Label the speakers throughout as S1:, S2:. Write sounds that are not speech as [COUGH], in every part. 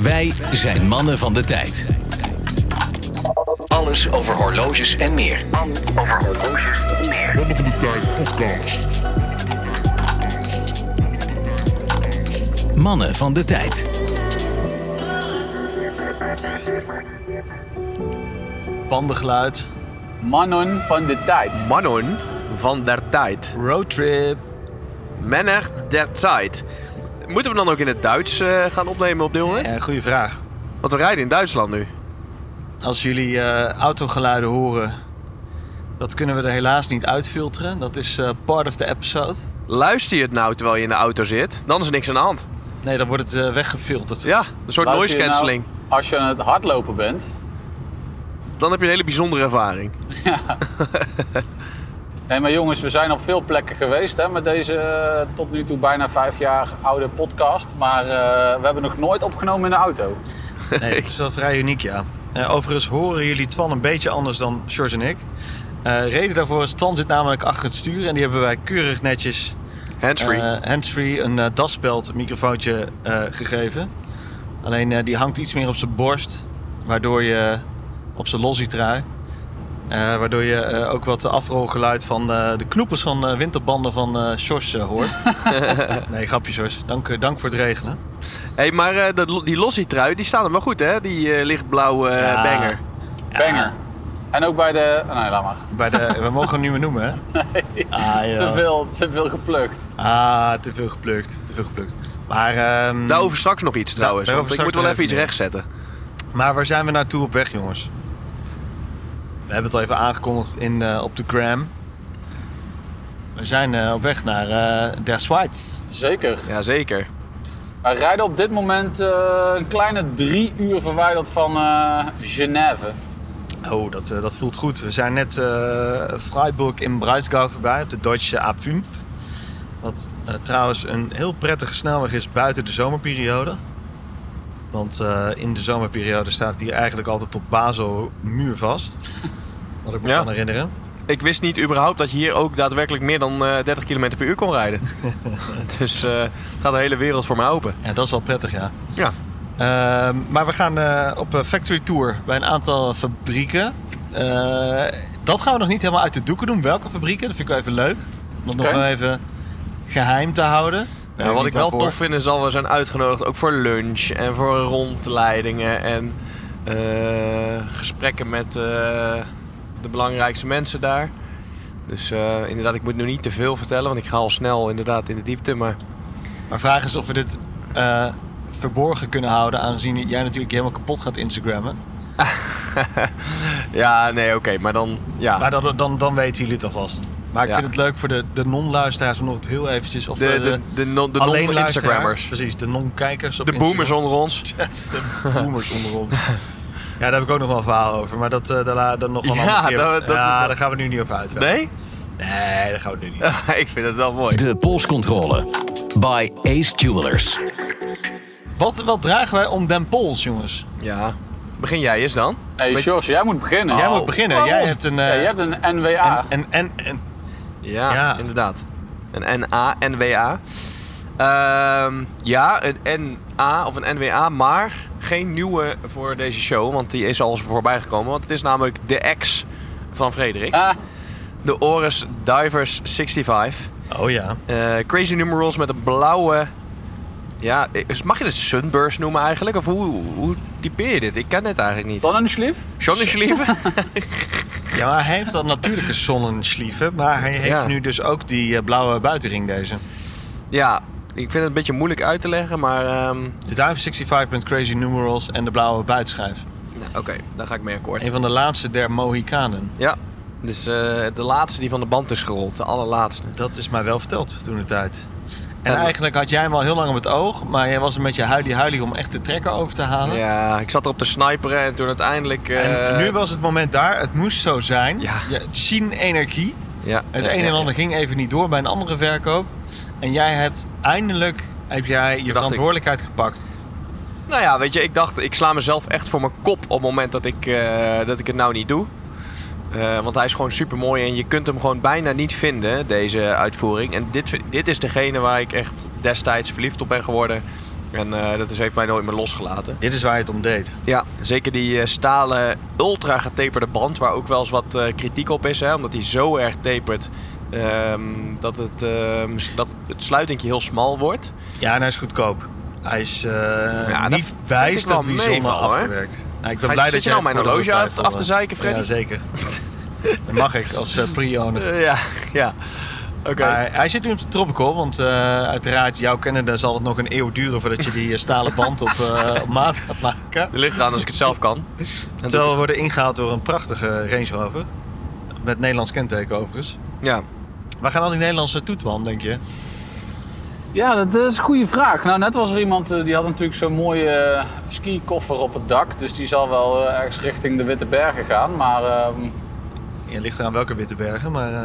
S1: Wij zijn mannen van de tijd. Alles over horloges en meer.
S2: Mannen van de Tijd podcast.
S1: Mannen van de tijd.
S3: Bandengeluid.
S4: Mannen van de tijd.
S5: Mannen van der Tijd.
S3: Roadtrip.
S5: Männer der Zeit. Moeten we dan ook in het Duits eh, gaan opnemen op dit moment?
S3: Ja, goede vraag.
S5: Want we rijden in Duitsland nu.
S3: Als jullie eh, autogeluiden horen, dat kunnen we er helaas niet uitfilteren. Dat is eh, part of the episode.
S5: Luister je het nou terwijl je in de auto zit, dan is er niks aan de hand.
S3: Nee, dan wordt het eh, weggefilterd.
S5: [LAUGHS] Ja, een soort noise
S4: Luister je nou
S5: cancelling.
S4: als je aan het hardlopen bent.
S5: Dan heb je een hele bijzondere ervaring.
S4: Hé, maar jongens, we zijn op veel plekken geweest hè, met deze eh, tot nu toe bijna vijf jaar oude podcast. Maar eh, we hebben nog nooit opgenomen in de auto.
S3: Nee, het is wel vrij uniek, ja. Eh, overigens horen jullie Twan een beetje anders dan George en ik. Eh, reden daarvoor is, Twan zit namelijk achter het stuur en die hebben wij keurig netjes
S5: Handsfree.
S3: eh, handsfree, een eh, dasbelt, microfoontje eh, gegeven. Alleen eh, die hangt iets meer op zijn borst, waardoor je op zijn lossie trui. eh, waardoor je eh, ook wat afrolgeluid van eh, de knoepers van eh, winterbanden van eh Sjors eh,
S4: [LAUGHS]
S3: hoort. nee, grapje Sjors. Dank, eh, dank voor het regelen.
S5: hey, maar eh, dat lo- die lossie trui, die staat hem wel goed hè? Die eh, lichtblauwe eh,
S3: Ja.
S5: banger.
S4: Banger. En ook bij de... oh, nee, laat maar.
S3: Ah, Bij de, we mogen hem niet meer noemen, hè?
S4: [LAUGHS]
S3: Ah, joh.
S4: Te veel, te veel geplukt.
S3: Ah, te veel geplukt. Te veel geplukt. Maar, ehm,
S4: Nou,
S5: Daarover straks nog iets trouwens.
S3: daarover
S5: want ik
S3: straks
S5: moet wel
S3: nog
S5: even iets
S3: even
S5: rechtzetten.
S3: maar waar zijn we naartoe op weg, jongens? We hebben het al even aangekondigd in, eh, op de gram. We zijn eh, op weg naar eh Der Schweiz.
S4: Zeker.
S5: Jazeker.
S4: Wij rijden op dit moment eh, een kleine drie uur verwijderd van eh Genève.
S3: Oh, dat, eh, dat voelt goed. We zijn net eh Freiburg in Breisgau voorbij op de Deutsche A5. Wat eh, trouwens een heel prettige snelweg is buiten de zomerperiode. Want eh, in de zomerperiode staat het hier eigenlijk altijd tot Basel muurvast. Wat ik me
S5: Ja.
S3: kan herinneren.
S5: Ik wist niet überhaupt dat je hier ook daadwerkelijk meer dan eh 30 km per uur kon rijden. dus eh, het gaat de hele wereld voor me open.
S3: Ja, dat is wel prettig, ja.
S5: Ja.
S3: Ehm, maar we gaan eh, op een factory tour bij een aantal fabrieken. Eh, dat gaan we nog niet helemaal uit de doeken doen. Welke fabrieken? Dat vind ik wel even leuk. Om dat nog
S4: Oké.
S3: wel even geheim te houden.
S5: Ja, wat ik wel
S3: tof
S5: tof vind is dat we zijn uitgenodigd ook voor lunch en voor rondleidingen en eh, gesprekken met eh, de belangrijkste mensen daar. Dus eh, inderdaad, ik moet nu niet te veel vertellen, want ik ga al snel inderdaad in de diepte. Maar
S3: Maar vraag is of we dit eh, verborgen kunnen houden, aangezien jij natuurlijk helemaal kapot gaat Instagrammen.
S5: ja, nee, oké, maar dan ja.
S3: Maar dan, dan, dan weten jullie het alvast. Maar ik
S5: Ah. Ja.
S3: vind het leuk voor de, de non-luisteraars om nog het heel eventjes... Of de,
S5: de, de, de, non- de
S3: alleen
S5: non-Instagrammers,
S3: Precies, de non-kijkers op
S5: de boomers
S3: Instagram.
S5: onder ons.
S3: De boomers onder ons. [LAUGHS] Ja, daar heb ik ook nog wel een verhaal over, maar dat, eh daar, la- dan nog wel een
S5: Ja,
S3: andere keer.
S5: dat- dat-
S3: ja,
S5: dat-
S3: daar gaan we nu niet over uit.
S5: Nee? [LAUGHS]
S3: Nee, daar gaan we nu niet over.
S5: ik vind het wel mooi.
S1: De polscontrole. By Ace Jewelers.
S3: Wat, wat dragen wij om Den Pols, jongens?
S5: Ja. Begin jij eens dan.
S4: Hé, hey,
S5: Weet-
S4: George, jij moet beginnen.
S3: jij
S4: Oh.
S3: moet beginnen.
S5: waarom?
S3: Jij hebt een... eh,
S4: Ja, je hebt een NWA.
S3: een, en, en,
S5: Ja,
S3: Ja.
S5: inderdaad. Een NA, NWA. Ehm, ja, een NA of een NWA, maar geen nieuwe voor deze show, want die is al eens voorbij gekomen. Want het is namelijk de ex van Frederik.
S4: Ah,
S5: De Oris Divers 65.
S3: oh ja.
S5: Eh, crazy numerals met een blauwe... Ja, is- mag je dit sunburst noemen eigenlijk? Of hoe, hoe typeer je dit? Ik ken dit eigenlijk niet.
S4: Sonnenschlief?
S5: Sonnenschlieven? [LAUGHS]
S3: Ja, maar hij heeft dat natuurlijke zonnenslieven, maar hij heeft
S5: Ja.
S3: nu dus ook die eh, blauwe buitenring deze.
S5: ja, ik vind het een beetje moeilijk uit te leggen, maar... ehm,
S3: De Dive 65 met Crazy Numerals en de blauwe buitenschijf.
S5: nou, Oké, daar ga ik mee akkoord.
S3: Een van de laatste der Mohikanen.
S5: Ja, dus eh, de laatste die van de band is gerold, de allerlaatste.
S3: Dat is mij wel verteld toen de tijd. En
S5: Ja.
S3: eigenlijk had jij hem al heel lang op het oog, maar jij was een beetje huilie-huilie om echt de trekker over te halen.
S5: Ja, ik zat erop te sniperen en toen uiteindelijk... eh,
S3: En nu was het moment daar, het moest zo zijn.
S5: Ja.
S3: Chin-energie.
S5: ja,
S3: Het
S5: ja,
S3: een
S5: ja,
S3: en
S5: ja.
S3: ander ging even niet door bij een andere verkoop. En jij hebt eindelijk heb jij je
S5: ik-
S3: verantwoordelijkheid gepakt.
S5: Nou ja, weet je, ik dacht, ik sla mezelf echt voor mijn kop op het moment dat ik, eh, dat ik het nou niet doe. Eh, want hij is gewoon super mooi en je kunt hem gewoon bijna niet vinden, deze uitvoering. En dit, dit is degene waar ik echt destijds verliefd op ben geworden. En eh, dat is, heeft mij nooit meer losgelaten.
S3: Dit is waar je het om deed.
S5: Ja, zeker die eh, stalen ultra getaperde band, waar ook wel eens wat eh, kritiek op is, hè, omdat die zo erg tapert ehm, dat, het, ehm, dat het sluitingje heel smal wordt.
S3: Ja, en hij is goedkoop. Hij is eh
S5: dat
S3: niet
S5: vind ik wel
S3: bijster bijzonder
S5: meevallen, hoor.
S3: afgewerkt. Nou, ik
S5: Ga
S3: ben
S5: je-
S3: blij
S5: zit
S3: dat
S5: je
S3: je
S5: nou
S3: het
S5: mijn
S3: voordeel
S5: horloge
S3: van
S5: af-
S3: twijfelde.
S5: af te zeiken, Freddy?
S3: Ja, zeker.
S5: [LAUGHS]
S3: dat mag ik als eh, pre-owner.
S5: ja, ja. Oké.
S3: Maar hij zit nu op de tropical, want eh, uiteraard, jouw kennende zal het nog een eeuw duren voordat je die eh, stalen band op, eh, op maat gaat maken.
S5: Er ligt aan als ik het zelf kan. En
S3: Terwijl we worden ingehaald door een prachtige Range Rover. Met Nederlands kenteken overigens.
S5: Ja.
S3: Waar gaan al die Nederlandse toe, Twan, denk je?
S4: Ja, dat is een goede vraag. Nou, net was er iemand eh, die had natuurlijk zo'n mooie eh, skikoffer op het dak. Dus die zal wel eh, ergens richting de Witte Bergen gaan. Maar ehm,
S3: Ja, ligt eraan welke Witte Bergen, maar...
S4: [LAUGHS]
S3: eh,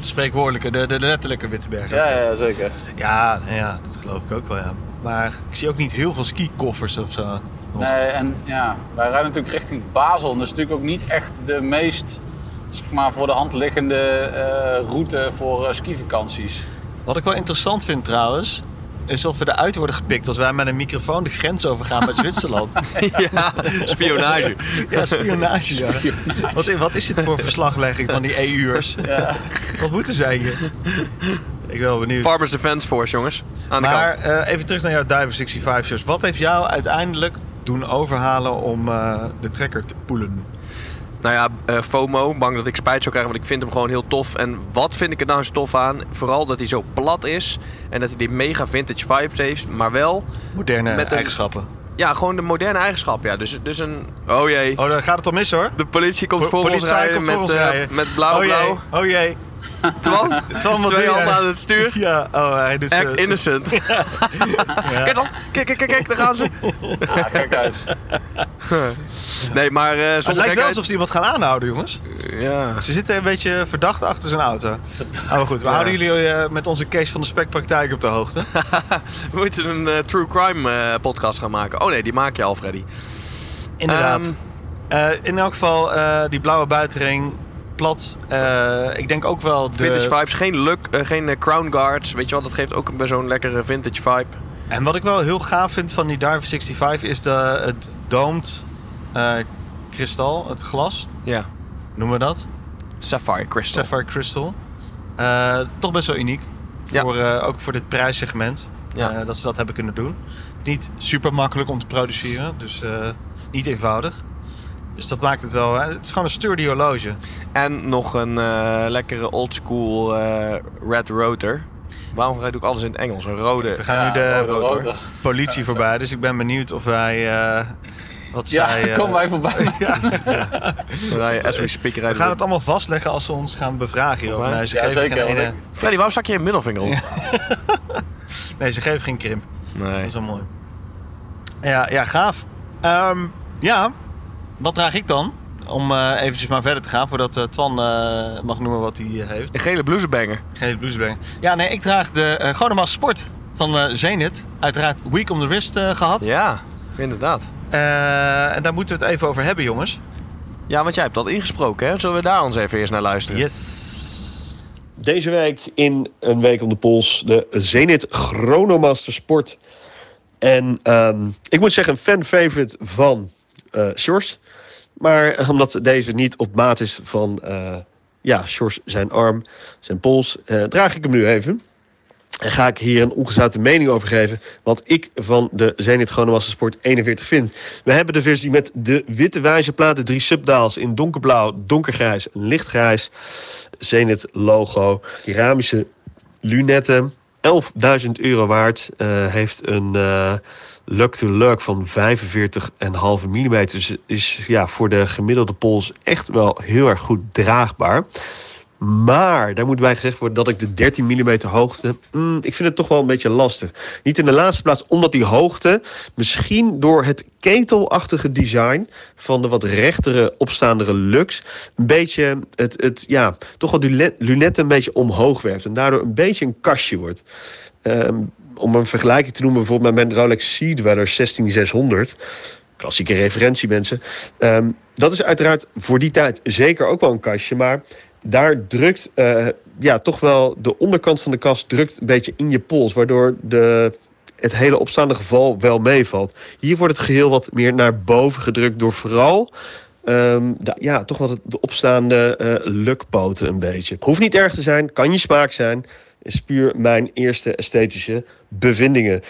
S3: de spreekwoordelijke, de, de letterlijke Witte Bergen.
S4: ja, ja, zeker.
S3: Ja, nou ja, dat geloof ik ook wel, ja. Maar ik zie ook niet heel veel skikoffers of zo. nog.
S4: Nee, en ja, wij rijden natuurlijk richting Basel. En dat is natuurlijk ook niet echt de meest zeg maar, voor de hand liggende eh, route voor eh, skivakanties.
S3: Wat ik wel interessant vind trouwens, is of we eruit worden gepikt als wij met een microfoon de grens overgaan met Zwitserland.
S5: ja, spionage.
S3: ja, spionage. ja. Wat, i- wat is dit voor verslaglegging van die EU'ers?
S4: Ja.
S3: Wat moeten zij hier? Ik ben wel benieuwd.
S5: Farmers Defense Force, jongens. Aan de
S3: maar
S5: kant.
S3: eh, even terug naar jouw Diver 65 shows. Wat heeft jou uiteindelijk doen overhalen om eh, de trekker te poelen?
S5: Nou ja, eh, FOMO, bang dat ik spijt zou krijgen, want ik vind hem gewoon heel tof. En wat vind ik er nou zo tof aan? Vooral dat hij zo plat is en dat hij die mega vintage vibes heeft, maar wel...
S3: Moderne
S5: Met een-
S3: eigenschappen.
S5: Ja, gewoon de moderne eigenschap, ja. Dus, dus een... Oh jee,
S3: Oh, dan gaat het al mis hoor.
S5: de politie komt
S3: Po-
S5: voor ons
S3: politie
S5: rijden
S3: komt
S5: met,
S3: voor ons
S5: eh,
S3: rijden.
S5: met blauw
S3: oh jee, [LAUGHS]
S5: blauw.
S3: oh jee.
S5: Twan,
S3: Twan, wat doe
S5: twee
S3: je?
S5: handen aan het stuur.
S3: [LAUGHS] Ja, oh, hij doet
S5: Act
S3: zo- [LAUGHS]
S5: innocent. Kijk dan, kijk, kijk, kijk, kijk, daar gaan ze.
S4: Ja,
S3: [LAUGHS]
S4: gek uit.
S5: Nee, maar eh
S3: Het lijkt
S5: zonder
S3: wel
S5: gekheid-
S3: alsof ze iemand gaan aanhouden, jongens. [LAUGHS]
S5: Ja.
S3: Ze zitten een beetje verdacht achter zijn auto. Maar goed, we
S5: Ja.
S3: houden jullie eh, met onze case van de spekpraktijk op de
S5: [LAUGHS]
S3: hoogte.
S5: We moeten een eh, true crime eh, podcast gaan maken. Oh nee, die maak je al, Freddy.
S3: Inderdaad.
S5: Ehm.
S3: Eh, in elk geval, eh, die blauwe buitenring, plat. Eh, ik denk ook wel de...
S5: Vintage vibes, geen, luck, eh, geen eh, crown guards. Weet je wel, dat geeft ook een- zo'n lekkere vintage vibe.
S3: En wat ik wel heel gaaf vind van die Diver 65 is de, het domed eh, kristal, het glas,
S5: Ja.
S3: noemen we dat.
S5: Sapphire crystal.
S3: Sapphire Crystal. Eh, toch best wel uniek.
S5: Ja.
S3: Voor, eh, ook voor dit prijssegment.
S5: Ja.
S3: Eh, dat ze dat hebben kunnen doen. Niet super makkelijk om te produceren. Dus eh, niet eenvoudig. Dus dat maakt het wel. hè. Het is gewoon een sturdy horloge.
S5: en nog een eh, lekkere oldschool eh red rotor. Waarom doe ik alles in het Engels? Een
S3: We
S5: rode.
S3: gaan
S4: Ja,
S3: nu de
S4: rode rotor.
S3: politie voorbij. Dus ik ben benieuwd of wij. eh, wat
S4: Ja,
S3: zij. eh,
S4: kom
S3: [LAUGHS]
S4: wij voorbij.
S5: Rij- As we speak
S3: we
S5: rijden
S3: gaan
S5: we-
S3: het allemaal vastleggen als ze ons gaan bevragen hierover.
S5: Voorbij?
S3: Nee, ze
S4: Ja,
S3: geven
S4: zeker,
S3: geen,
S4: want
S3: ene-
S5: Freddy, waarom stak je je middelvinger op?
S3: nee, ze geven geen krimp.
S5: Nee.
S3: Dat is wel mooi. Ja, ja gaaf. Ehm, ja, wat draag ik dan? Om eh eventjes maar verder te gaan, voordat eh, Twan eh, mag noemen wat hij eh, heeft.
S5: Een gele blousebanger.
S3: Geen blouse brengen. Ja, nee, ik draag de eh Godemas Sport van eh Zenit. Uiteraard week om de wrist eh, gehad.
S5: Ja, inderdaad.
S3: Eh, en daar moeten we het even over hebben, jongens.
S5: Ja, want jij hebt dat ingesproken, hè? Zullen we daar ons even eerst naar luisteren?
S3: Yes.
S6: Deze week in een week om de pols de Zenit Chronomaster Sport. En ehm, ik moet zeggen, een fan favorite van eh Sjors. Maar eh, omdat deze niet op maat is van eh ja, Sjors zijn arm, zijn pols, eh, draag ik hem nu even. En ga ik hier een ongezouten mening over geven. Wat ik van de Zenit Groenemassen Sport 41 vind. We hebben de versie met de witte wijzerplaten. Drie subdaals in donkerblauw, donkergrijs en lichtgrijs. Zenit logo. Keramische lunetten. 11.000 euro waard. eh, heeft een eh lug to lug van 45,5 mm. Dus is ja, voor de gemiddelde pols echt wel heel erg goed draagbaar. Maar daar moet bij gezegd worden dat ik de 13 mm hoogte. mm, ik vind het toch wel een beetje lastig. Niet in de laatste plaats, omdat die hoogte misschien door het ketelachtige design van de wat rechtere, opstaandere Lux. een beetje het, het ja, toch wel die le- lunetten een beetje omhoog werpt. En daardoor een beetje een kastje wordt. Ehm, om een vergelijking te noemen, bijvoorbeeld met mijn Rolex Sea Dweller 16600. Klassieke referentie, mensen. Ehm, dat is uiteraard voor die tijd zeker ook wel een kastje. Maar daar drukt eh, ja, toch wel de onderkant van de kast drukt een beetje in je pols. Waardoor de het hele opstaande geval wel meevalt. Hier wordt het geheel wat meer naar boven gedrukt door vooral ehm, de, ja, toch wat het- de opstaande eh, lukpoten een beetje. Hoeft niet erg te zijn, kan je smaak zijn. Is puur mijn eerste esthetische bevindingen.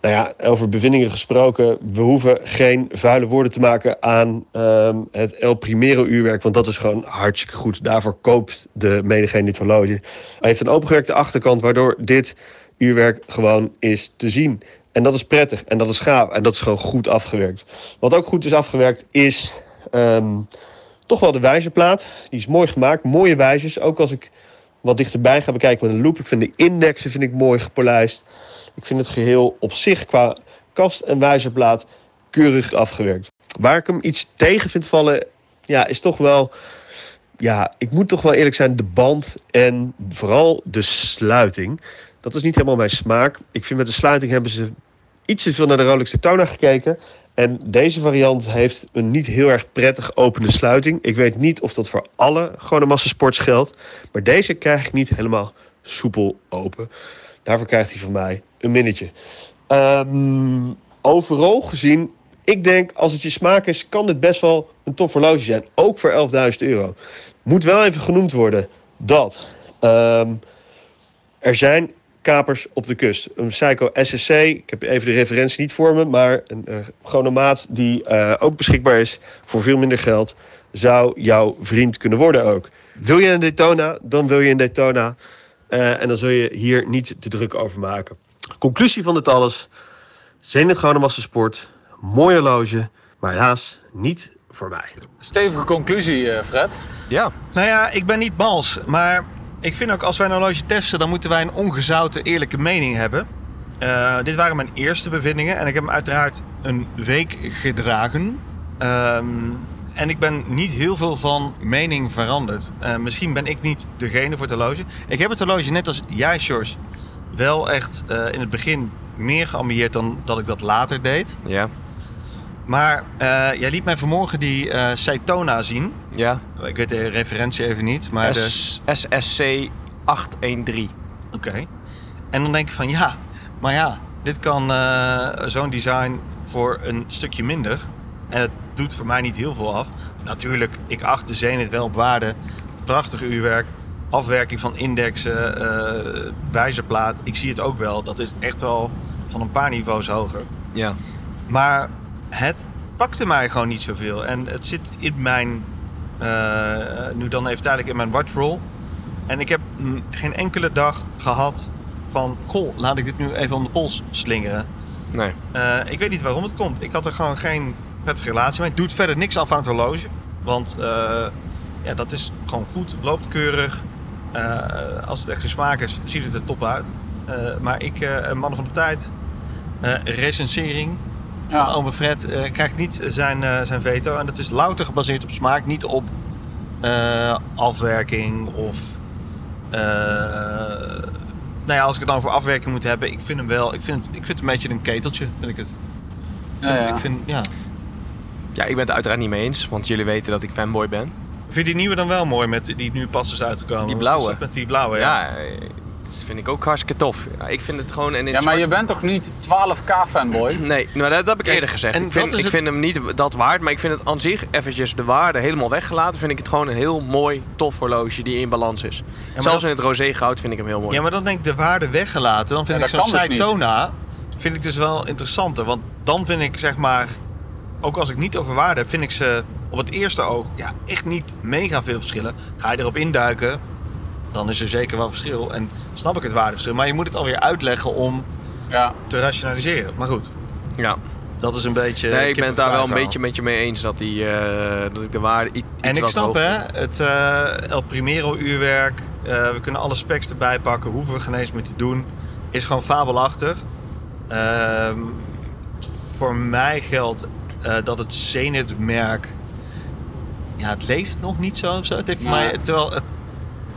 S6: Nou ja, over bevindingen gesproken. We hoeven geen vuile woorden te maken aan ehm, het El Primero uurwerk. Want dat is gewoon hartstikke goed. Daarvoor koopt de medegeen dit horloge. Hij heeft een opengewerkte achterkant, waardoor dit uurwerk gewoon is te zien. En dat is prettig en dat is gaaf en dat is gewoon goed afgewerkt. Wat ook goed is afgewerkt is ehm, toch wel de wijzerplaat. Die is mooi gemaakt, mooie wijzers. Ook als ik wat dichterbij ga bekijken met een loop. Ik vind de indexen vind ik mooi gepolijst. Ik vind het geheel op zich qua kast en wijzerplaat keurig afgewerkt. Waar ik hem iets tegen vind vallen, ja, is toch wel. Ja, ik moet toch wel eerlijk zijn, de band en vooral de sluiting. Dat is niet helemaal mijn smaak. Ik vind met de sluiting hebben ze iets te veel naar de Rolex Daytona gekeken. En deze variant heeft een niet heel erg prettig opene sluiting. Ik weet niet of dat voor alle gewone massasports geldt. Maar deze krijg ik niet helemaal soepel open. Daarvoor krijgt hij van mij een minnetje. Ehm, overal gezien, ik denk als het je smaak is, kan dit best wel een tof horloge zijn. Ook voor 11.000 euro. Moet wel even genoemd worden dat ehm, er zijn kapers op de kust. Een Psycho SSC, ik heb even de referentie niet voor me, maar een eh, gewone maat die eh, ook beschikbaar is voor veel minder geld, zou jouw vriend kunnen worden ook. Wil je een Daytona, dan wil je een Daytona. Eh, en dan zul je hier niet te druk over maken. Conclusie van dit alles. Zenit Goudemassa Sport. Mooi horloge. Maar helaas niet voor mij.
S4: Stevige conclusie, eh, Fred.
S5: Ja,
S3: Nou ja, ik ben niet mals, maar ik vind ook als wij een horloge testen, dan moeten wij een ongezouten eerlijke mening hebben. Eh, dit waren mijn eerste bevindingen en ik heb hem uiteraard een week gedragen. Ehm, en ik ben niet heel veel van mening veranderd. Eh, misschien ben ik niet degene voor het horloge. Ik heb het horloge net als jij, Sjors, wel echt eh, in het begin meer geambieerd dan dat ik dat later deed.
S5: ja,
S3: Maar eh, jij liet mij vanmorgen die eh Saitona zien.
S5: ja.
S3: Ik weet de referentie even niet, maar... de-
S5: S- SSC 813.
S3: Oké. En dan denk ik van ja, maar ja, dit kan eh, zo'n design voor een stukje minder. En het doet voor mij niet heel veel af. Natuurlijk, ik acht de Zenit wel op waarde. Prachtig uurwerk, afwerking van indexen, eh wijzerplaat. Ik zie het ook wel. Dat is echt wel van een paar niveaus hoger.
S5: Ja.
S3: Maar het pakte mij gewoon niet zoveel. En het zit in mijn, eh, nu dan even tijdelijk in mijn watchroll. En ik heb mm, geen enkele dag gehad van, goh, laat ik dit nu even om de pols slingeren.
S5: Nee.
S3: Eh, ik weet niet waarom het komt. Ik had er gewoon geen prettige relatie mee. Het doet verder niks af aan het horloge. Want eh, ja, dat is gewoon goed. Loopt keurig. Eh, als het echt je smaak is, ziet het er top uit. Eh, maar ik, eh mannen van de tijd, eh, recensering,
S4: Ja.
S3: Ome Fred eh, krijgt niet zijn, eh, zijn veto. En dat is louter gebaseerd op smaak, niet op eh, afwerking of. eh, nou ja, als ik het dan voor afwerking moet hebben, ik vind hem wel. Ik vind het, ik vind het een beetje een keteltje, vind ik het. Ik
S4: Ja,
S3: vind-
S4: ja.
S3: Ik vind, ja.
S5: Ja, ik ben het uiteraard niet mee eens, want jullie weten dat ik fanboy ben.
S3: vind je die nieuwe dan wel mooi, met die nu pas is uitgekomen?
S5: Die
S3: Wat is
S5: blauwe.
S3: dat met die blauwe, ja.
S5: Ja, eh, dat vind ik ook hartstikke tof. Ja, ik vind het gewoon... En in
S4: ja, maar je
S5: zwart-
S4: bent toch niet 12k fanboy?
S5: Nee, maar dat, dat heb ik
S3: Kijk,
S5: eerder gezegd.
S3: en
S5: Ik
S3: dat
S5: vind,
S3: is
S5: ik
S3: het-
S5: vind hem niet dat waard, maar ik vind het aan zich eventjes de waarde helemaal weggelaten. Vind ik het gewoon een heel mooi, tof horloge die in balans is. Zelfs
S3: dat-
S5: in het roze goud vind ik hem heel mooi.
S3: Ja, maar dan denk ik de waarde weggelaten. Dan vind
S4: Ja,
S3: ik
S4: dat
S3: zo'n
S4: kan dus niet.
S3: Saitona vind ik dus wel interessanter. Want dan vind ik zeg maar, ook als ik niet over waarde heb, vind ik ze op het eerste oog ja, echt niet mega veel verschillen. Ga je erop induiken, dan is er zeker wel verschil. En snap ik het waardeverschil. Maar je moet het alweer uitleggen om
S4: Ja.
S3: te rationaliseren. Maar goed,
S5: Ja.
S3: dat is een beetje.
S5: Nee, ik ben het daar wel een
S3: kip-en-ei
S5: beetje met je mee eens dat, die, eh, dat ik de waarde i- iets
S3: En ik
S5: wat
S3: snap
S5: hoog-
S3: hè, het eh, El Primero uurwerk, eh, we kunnen alle specs erbij pakken, hoeven we geen eens meer te doen, is gewoon fabelachtig. Ehm, voor mij geldt eh, dat het Zenith merk, ja het leeft nog niet zo of zo. Het heeft voor
S4: Nee.
S3: mij, terwijl het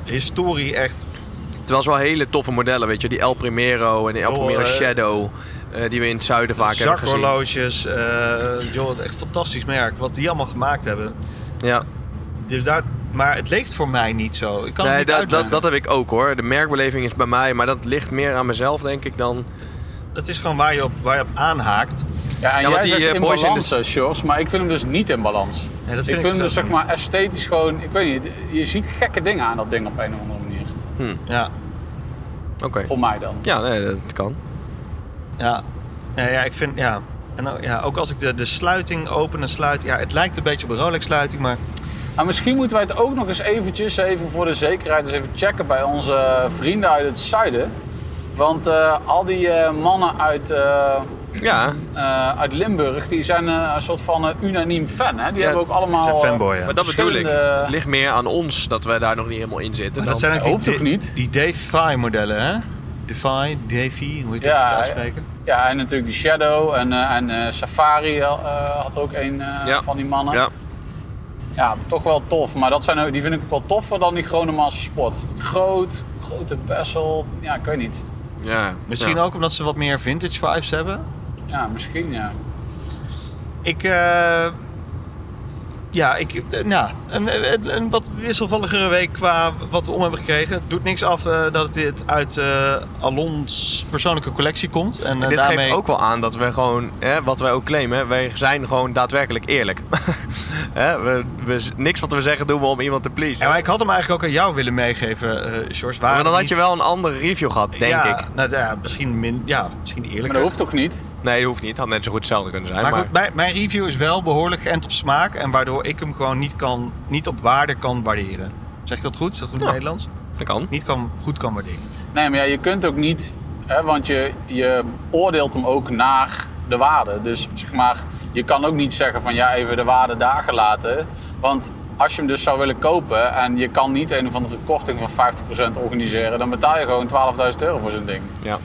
S3: historie echt,
S5: Ah, Terwijl ze wel hele toffe modellen, weet je. Die El Primero en de El
S3: Oh,
S5: Primero
S3: eh,
S5: Shadow, eh, die we in het zuiden vaak hebben gezien.
S3: zakhorloges, eh joh, het echt fantastisch merk, wat die allemaal gemaakt hebben.
S5: Ja.
S3: Dus daar, maar het leeft voor mij niet zo. Ik kan het
S5: Nee,
S3: niet
S5: dat, dat,
S3: uitleggen.
S5: dat heb ik ook hoor. De merkbeleving is bij mij, maar dat ligt meer aan mezelf denk ik dan
S3: dat is gewoon waar je op, waar je op aanhaakt.
S4: Ja, en
S5: Ja,
S4: jij
S5: want die,
S4: zegt
S5: eh,
S4: in
S5: boys in
S4: balans, eh, Sjors, maar ik vind hem dus niet in balans.
S3: Nee, dat vind ik
S4: ik vind hem
S3: dus
S4: dus zeg
S3: ook
S4: maar esthetisch gewoon, ik weet niet, je ziet gekke dingen aan dat ding op een of andere manier.
S3: Ja,
S5: Oké.
S4: Voor mij dan.
S5: Ja, nee, dat kan.
S3: ja. Nee, ja ik vind, ja. En ook- ja, ook als ik de, de sluiting open en sluit. Ja, het lijkt een beetje op een Rolex-sluiting, maar
S4: Maar misschien moeten wij het ook nog eens eventjes, even voor de zekerheid, eens even checken bij onze vrienden uit het zuiden. Want eh, al die eh, mannen uit, eh,
S5: Ja,
S4: eh, uit Limburg, die zijn eh, een soort van eh, unaniem fan. Hè? Die hebben ook allemaal...
S3: zijn
S4: eh,
S3: fanboy. Ja.
S5: maar dat bedoel ik.
S4: Verschillende-
S5: Het ligt meer aan ons dat wij daar nog niet helemaal in zitten.
S3: Maar dat
S5: dan-
S3: zijn ook die,
S4: hoeft toch
S3: de-
S4: niet?
S3: die Defy-modellen, hè? Defy, Defy, hoe je het
S4: Ja,
S3: ook moet uitspreken.
S4: Ja, en natuurlijk die Shadow en, eh, en eh, Safari eh, had ook een eh,
S5: Ja.
S4: van die mannen.
S5: Ja,
S4: Ja, toch wel tof. Maar dat zijn, ook- die vind ik ook wel toffer dan die gewone massa sport. Het groot, grote bessel. Ja, ik weet niet.
S5: ja.
S3: Misschien
S5: ja.
S3: ook omdat ze wat meer vintage vibes hebben.
S4: Ja, misschien ja.
S3: Ik, eh, ja, ik, eh, nou, een, een, een wat wisselvalligere week qua wat we om hebben gekregen. Doet niks af eh, dat dit uit eh Alons persoonlijke collectie komt. En, eh,
S5: Dit
S3: daarmee...
S5: geeft ook wel aan dat we gewoon, hè, wat wij ook claimen, hè, wij zijn gewoon daadwerkelijk eerlijk. [LAUGHS] hè, we, we, niks wat we zeggen doen we om iemand te
S3: Ja,
S5: pleasen.
S3: maar ik had hem eigenlijk ook aan jou willen meegeven, eh George.
S5: maar dan had
S3: niet-
S5: je wel een andere review gehad, denk
S3: ja,
S5: ik.
S3: Nou, ja, misschien, min, ja, misschien eerlijker.
S4: Maar dat hoeft ook niet.
S5: Nee, dat hoeft niet. Had net zo goed hetzelfde kunnen zijn.
S3: Maar
S5: Maar,
S3: goed, mijn, mijn review is wel behoorlijk geënt op smaak. En waardoor ik hem gewoon niet, kan, niet op waarde kan waarderen. Zeg ik dat goed? Is dat goed in het Nederlands?
S5: dat kan.
S3: Niet kan, goed kan waarderen.
S4: Nee, maar ja, je kunt ook niet, hè, want je, je oordeelt hem ook naar de waarde. Dus zeg maar, je kan ook niet zeggen van ja, even de waarde daar gelaten. Want als je hem dus zou willen kopen en je kan niet een of andere korting van 50% organiseren, dan betaal je gewoon 12.000 euro voor zo'n ding.
S5: Ja.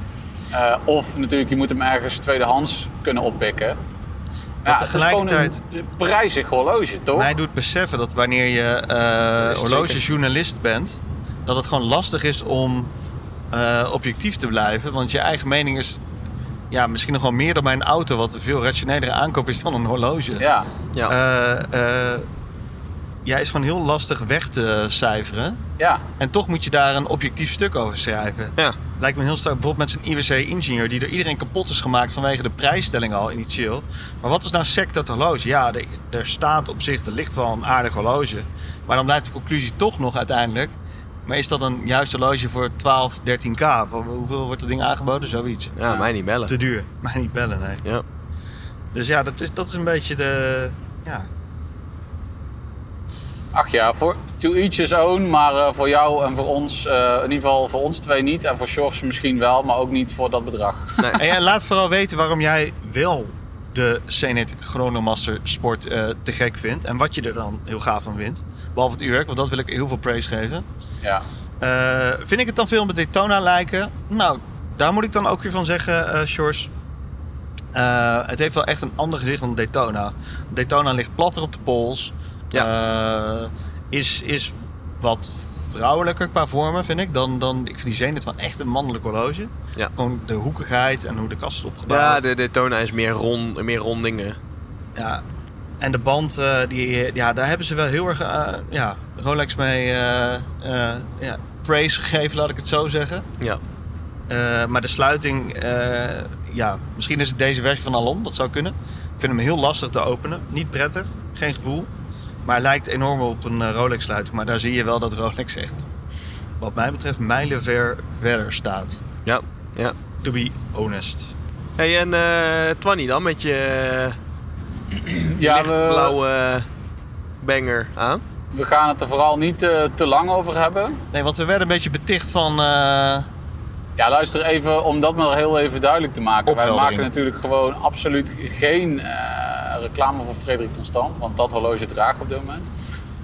S4: Eh, of natuurlijk, je moet hem ergens tweedehands kunnen oppikken. Ja,
S3: Maar
S4: het is gewoon
S3: tegelijkertijd-
S4: een prijzig horloge, toch?
S3: Mij doet beseffen dat wanneer je
S5: is
S3: eh
S5: het
S3: horlogejournalist bent, dat het gewoon lastig is om eh, objectief te blijven. Want je eigen mening is ja, misschien nog wel meer dan bij een auto, wat een veel rationelere aankoop is dan een horloge.
S4: Ja.
S5: Ja.
S3: Eh, eh, ja, is gewoon heel lastig weg te cijferen.
S4: ja.
S3: En toch moet je daar een objectief stuk over schrijven.
S5: ja.
S3: Lijkt me heel sterk bijvoorbeeld met zijn IWC-ingenieur... die door iedereen kapot is gemaakt vanwege de prijsstelling al in die chill. Maar wat is nou sec dat horloge? Ja, er, er staat op zich, er ligt wel een aardig horloge. Maar dan blijft de conclusie toch nog uiteindelijk... maar is dat een juist horloge voor 12, 13k? Voor hoeveel wordt dat ding aangeboden? Zoiets.
S5: Ja, mij niet bellen.
S3: Te duur. Maar niet bellen, nee.
S5: Ja.
S3: Dus ja, dat is, dat is een beetje de... Ja,
S4: Ach ja, voor to each his own, maar eh, voor jou en voor ons, eh, in ieder geval voor ons twee niet. En voor Sjors misschien wel, maar ook niet voor dat bedrag.
S3: En ja, laat vooral weten waarom jij wel de Zenit Chronomaster Sport eh, te gek vindt. En wat je er dan heel gaaf van vindt. Behalve het uurwerk, want dat wil ik heel veel praise geven.
S4: ja.
S3: Eh, vind ik het dan veel met Daytona lijken? Nou, daar moet ik dan ook weer van zeggen, eh Sjors. Eh, het heeft wel echt een ander gezicht dan Daytona. Daytona ligt platter op de pols. Eh, is, is wat vrouwelijker qua vormen, vind ik. Dan, dan, ik vind die Zenit wel echt een mannelijk horloge.
S5: Ja.
S3: Gewoon de hoekigheid en hoe de kast is opgebouwd.
S5: Ja, de Daytona is meer, rond, meer rondingen.
S3: Ja. En de band, eh, die, ja, daar hebben ze wel heel erg eh, ja, Rolex mee eh, eh, ja, praise gegeven, laat ik het zo zeggen.
S5: Ja.
S3: Eh, maar de sluiting, eh, ja, misschien is het deze versie van Alon, dat zou kunnen. Ik vind hem heel lastig te openen, niet prettig, geen gevoel. Maar hij lijkt enorm op een eh, Rolex sluiting. Maar daar zie je wel dat Rolex echt, wat mij betreft, mijlenver verder staat.
S5: Ja. ja.
S3: To be honest.
S5: hey, en eh Twanny dan met je
S4: Ja, we,
S5: lichtblauwe banger aan?
S4: we gaan het er vooral niet eh, te lang over hebben.
S3: Nee, want we werden een beetje beticht van... eh,
S4: Ja, luister even, om dat maar heel even duidelijk te maken. Wij
S3: Opheldering.
S4: maken natuurlijk gewoon absoluut geen eh, reclame voor Frederik Constant, want dat horloge draag ik op dit moment.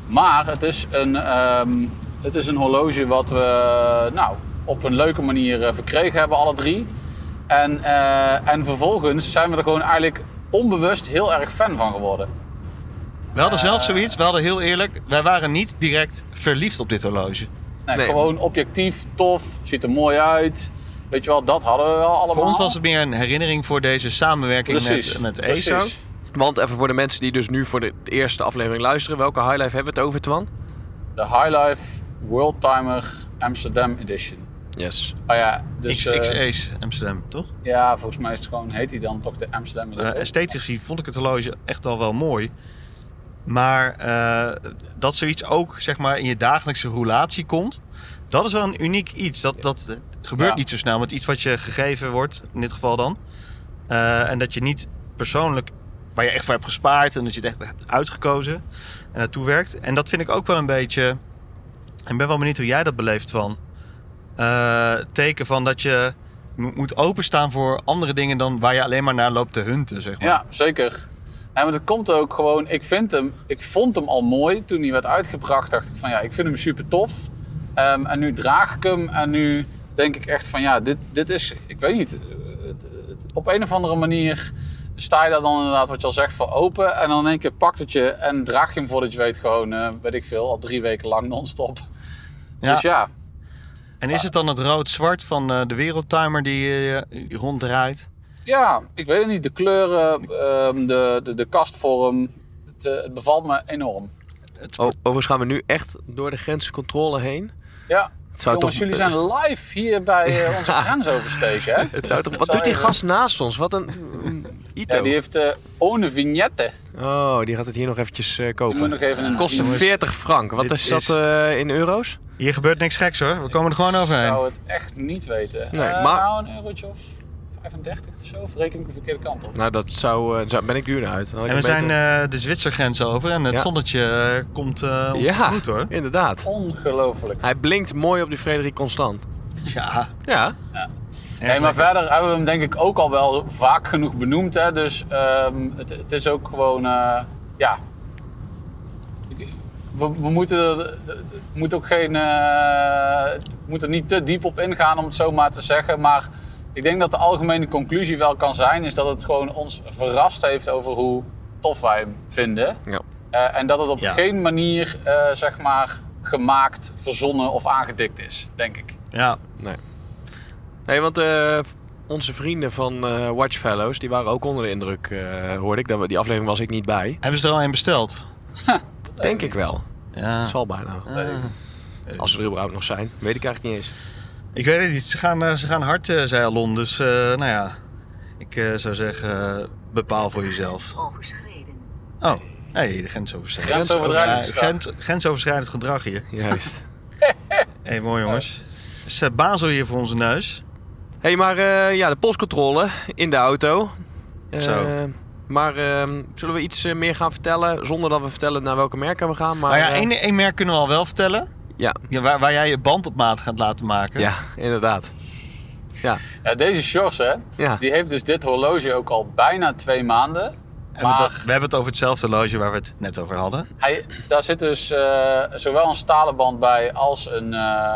S4: Maar het is een, ehm, het is een horloge wat we nou, op een leuke manier eh, verkregen hebben, alle drie. En, eh, en vervolgens zijn we er gewoon eigenlijk onbewust heel erg fan van geworden.
S3: We hadden
S4: Eh.
S3: zelf zoiets, we hadden heel eerlijk, wij waren niet direct verliefd op dit horloge.
S4: Nee,
S5: Nee.
S4: Gewoon objectief, tof, ziet er mooi uit. Weet je wel, dat hadden we wel allemaal.
S3: Voor ons was het meer een herinnering voor deze samenwerking
S4: precies,
S3: met, met
S4: precies.
S3: ESO.
S5: Want even voor de mensen die dus nu voor de eerste aflevering luisteren, welke highlife hebben we het over, Twan?
S4: De Highlife Worldtimer Amsterdam Edition.
S5: Yes.
S4: Oh ja, dus...
S3: X,
S4: eh,
S3: X Ace Amsterdam, toch?
S4: ja, volgens mij is het gewoon, heet hij dan toch de Amsterdam
S3: Eh,
S4: Lip?
S3: esthetisch gezien vond ik het horloge echt al wel mooi. Maar eh, dat zoiets ook zeg maar, in je dagelijkse roulatie komt, dat is wel een uniek iets. Dat, dat eh, gebeurt
S4: Ja.
S3: niet zo snel met iets wat je gegeven wordt, in dit geval dan. Eh, en dat je niet persoonlijk, waar je echt voor hebt gespaard en dat je het echt hebt uitgekozen en naartoe werkt. En dat vind ik ook wel een beetje. Ik ben wel benieuwd hoe jij dat beleeft van. eh, teken van dat je mo- moet openstaan voor andere dingen dan waar je alleen maar naar loopt te hunten, zeg maar.
S4: Ja, zeker. En maar dat komt ook gewoon, ik vind hem, ik vond hem al mooi toen hij werd uitgebracht. Dacht ik van ja, ik vind hem super tof. Ehm, en nu draag ik hem en nu denk ik echt van ja, dit, dit is, ik weet niet, eh, het- het- op een of andere manier sta je daar dan inderdaad, wat je al zegt, voor open. En dan in één keer pakt het je en draag je hem voordat je weet gewoon, eh, weet ik veel, al drie weken lang non-stop.
S3: Ja.
S4: Dus ja,
S3: En is het dan het rood-zwart van eh, de wereldtimer die eh, die ronddraait?
S4: Ja, ik weet het niet. De kleuren, ehm, de, de, de kastvorm. Het, eh, het bevalt me enorm.
S3: Het,
S5: O- overigens gaan we nu echt door de grenscontrole heen.
S4: Ja.
S5: Het zou
S4: Jongens,
S5: toch,
S4: jullie zijn live hier bij eh,
S5: [LAUGHS]
S4: onze grens oversteken, hè?
S5: Het zou toch, wat
S4: Zou
S5: doet die
S4: je-
S5: gast naast ons? Wat een... [LAUGHS] Ito.
S4: Ja, die heeft eh one vignette.
S5: Oh, die gaat het hier nog eventjes eh,
S4: Die moet nog
S5: kopen.
S4: even een
S5: Het kostte
S4: jongens,
S5: 40 frank. Wat
S3: dit
S5: is dat
S3: is-
S5: eh, in euro's?
S3: hier gebeurt niks geks hoor, we komen er gewoon
S4: Ik zou
S3: overheen.
S4: het echt niet weten.
S5: Nee,
S4: Eh,
S5: maar-
S4: Nou, een eurotje of 35 of zo. Of reken ik de verkeerde kant op.
S5: Nou, dat zou... eh, zou- ben ik duur naar uit. Dan had ik
S3: En we
S5: hem
S3: zijn
S5: beter-
S3: eh, de Zwitsergrens over en het
S5: Ja.
S3: zonnetje eh, komt eh ons
S5: ja,
S3: goed hoor.
S5: inderdaad.
S4: Ongelooflijk.
S5: Hij blinkt mooi op die Frederik Constant.
S3: Ja,
S5: Ja.
S4: Nee, maar verder hebben we hem denk ik ook al wel vaak genoeg benoemd. Hè? Dus ehm, het, het is ook gewoon, eh, ja. Ik- We, we moeten er d- d- we moeten ook geen, eh, we moeten er niet te diep op ingaan om het zo maar te zeggen. Maar ik denk dat de algemene conclusie wel kan zijn, is dat het gewoon ons verrast heeft over hoe tof wij hem vinden.
S5: ja.
S4: Eh, en dat het op
S3: Ja.
S4: geen manier, eh, zeg maar, gemaakt, verzonnen of aangedikt is, denk ik.
S3: ja.
S5: Nee, want eh, onze vrienden van eh Watchfellows, die waren ook onder de indruk, eh, hoorde ik. Dat we- Die aflevering was ik niet bij.
S3: Hebben ze er al een besteld?
S5: Denk ik wel.
S3: Ja.
S5: Dat zal bijna.
S4: Dat weet ik.
S5: Als ze er überhaupt nog zijn. Weet ik eigenlijk niet eens.
S3: Ik weet het niet. Ze gaan, eh, ze gaan hard, eh, zei Alon. Dus eh, nou ja, ik eh, zou zeggen, eh, bepaal voor jezelf.
S7: overschreden.
S3: Oh, hey, de grensoverschrijdend.
S4: Grensoverschrijdend
S3: Eh,
S4: gedrag.
S3: grens- grensoverschrijdend gedrag hier.
S5: Juist.
S3: Hé, hey, mooi jongens. Is eh, Basel hier voor onze neus?
S5: Hé, [LAUGHS] hey, maar eh, ja, de postcontrole in de auto. Eh,
S3: Zo.
S5: Maar ehm, zullen we iets eh, meer gaan vertellen zonder dat we vertellen naar welke merken we gaan? Maar,
S3: Maar Nou ja,
S5: eh,
S3: één, één merk kunnen we al wel vertellen.
S5: ja,
S3: Ja, waar, waar jij je band op maat gaat laten maken.
S5: ja, inderdaad. Ja,
S4: Ja, deze Sjors, hè,
S5: Ja.
S4: die heeft dus dit horloge ook al bijna twee maanden.
S3: En we,
S4: Maar
S3: het- we hebben het over hetzelfde loge waar we het net over hadden.
S4: hij, daar zit dus eh, zowel een stalen band bij als een eh,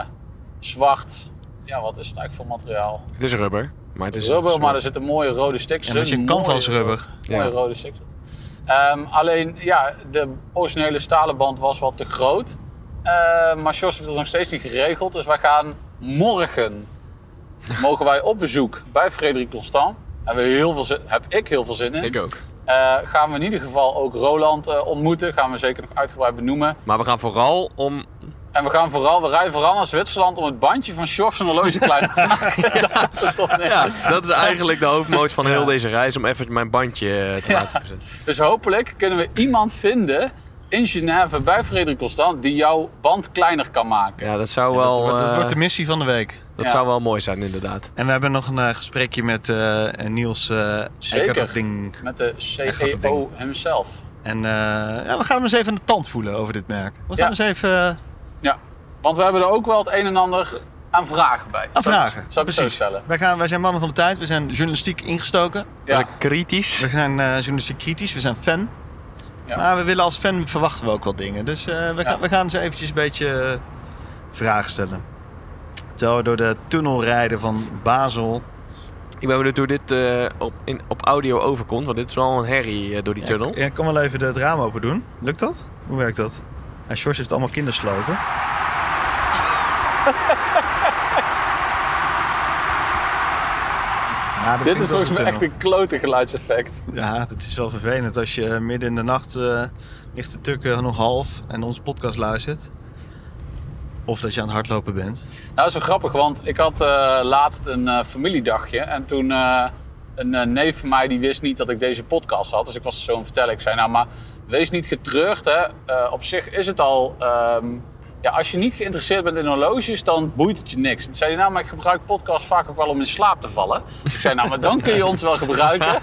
S4: zwart... Ja, wat is het eigenlijk voor materiaal?
S5: het is rubber. Maar het is een
S4: Rubber,
S5: soort-
S4: maar er zit een mooie rode stik.
S3: En dat is een canvasrubber.
S4: Mooie
S5: Ja.
S4: rode stik. Ehm, alleen, ja, de originele stalen band was wat te groot. Ehm, maar Sjors heeft het nog steeds niet geregeld. Dus wij gaan
S5: [LAUGHS]
S4: morgen... mogen wij op bezoek bij Frederik Constant. En we heel veel zin, heb ik heel veel zin in.
S5: Ik ook.
S4: Eh, gaan we in ieder geval ook Roland eh, ontmoeten. Gaan we zeker nog uitgebreid benoemen.
S5: Maar we gaan vooral om...
S4: En we gaan vooral, we rijden vooral naar Zwitserland om het bandje van Sjors en
S5: [LAUGHS]
S4: horloge kleiner te maken. Daar komt het op neer.
S5: Ja, dat is eigenlijk de hoofdmoot van heel deze reis. Om even mijn bandje eh, te laten verzetten.
S4: Dus hopelijk kunnen we iemand vinden in Genève bij Frederik Constant die jouw band kleiner kan maken.
S5: Ja, dat zou
S3: Dat,
S5: wel,
S3: wordt- dat
S5: eh,
S3: wordt de missie van de week.
S5: dat
S4: Ja.
S5: zou wel mooi zijn, inderdaad.
S3: En we hebben nog een eh, gesprekje met eh, Niels eh
S4: Zeker.
S3: Eckerding.
S4: Met de
S3: Echt dat
S4: CEO
S3: ding.
S4: hemzelf.
S3: En eh, ja, we gaan hem eens even aan de tand voelen over dit merk. We gaan
S4: Ja.
S3: eens even eh,
S4: Ja, want we hebben er ook wel het een en ander aan vragen bij.
S3: aan vragen.
S4: Zou ik het zo
S3: Precies.
S4: stellen.
S3: Wij, gaan, wij zijn mannen van de tijd. We zijn journalistiek ingestoken.
S5: Ja.
S4: Ja.
S5: kritisch.
S3: We zijn eh, journalistiek kritisch. We zijn fan.
S4: Ja.
S3: Maar we willen als fan verwachten we ook wel dingen. Dus eh, we, gaan,
S4: Ja.
S3: we gaan ze eventjes een beetje eh, vragen stellen. Terwijl we door de tunnel rijden van Basel.
S5: Ik ben benieuwd hoe dit eh, op, in, op audio overkomt. Want dit is wel een herrie eh, door die tunnel.
S3: Ja, ik kan wel even het raam open doen. Lukt dat? Hoe werkt dat? Ja, George heeft allemaal
S4: [LAUGHS]
S3: kindersloten. Ja, dat
S4: Dit
S3: klinkt
S4: is
S3: als
S4: volgens mij
S3: een
S4: echt
S3: tunnel.
S4: een klote geluidseffect.
S3: Ja, het is wel vervelend als je midden in de nacht eh, ligt te tukken nog half en onze podcast luistert. Of dat je aan het hardlopen bent.
S4: Nou, dat is wel grappig, want ik had eh, laatst een eh, familiedagje. En toen eh, een eh, neef van mij die wist niet dat ik deze podcast had. Dus ik was zo aan vertellen. Ik zei, nou maar wees niet getreurd. Hè. Eh, op zich is het al... ehm, ja, als je niet geïnteresseerd bent in horloges, dan boeit het je niks. Toen zei hij, nou maar ik gebruik podcasts vaak ook wel om in slaap te vallen. Dus ik zei, nou maar dan kun je ons wel
S5: [LAUGHS]
S4: gebruiken.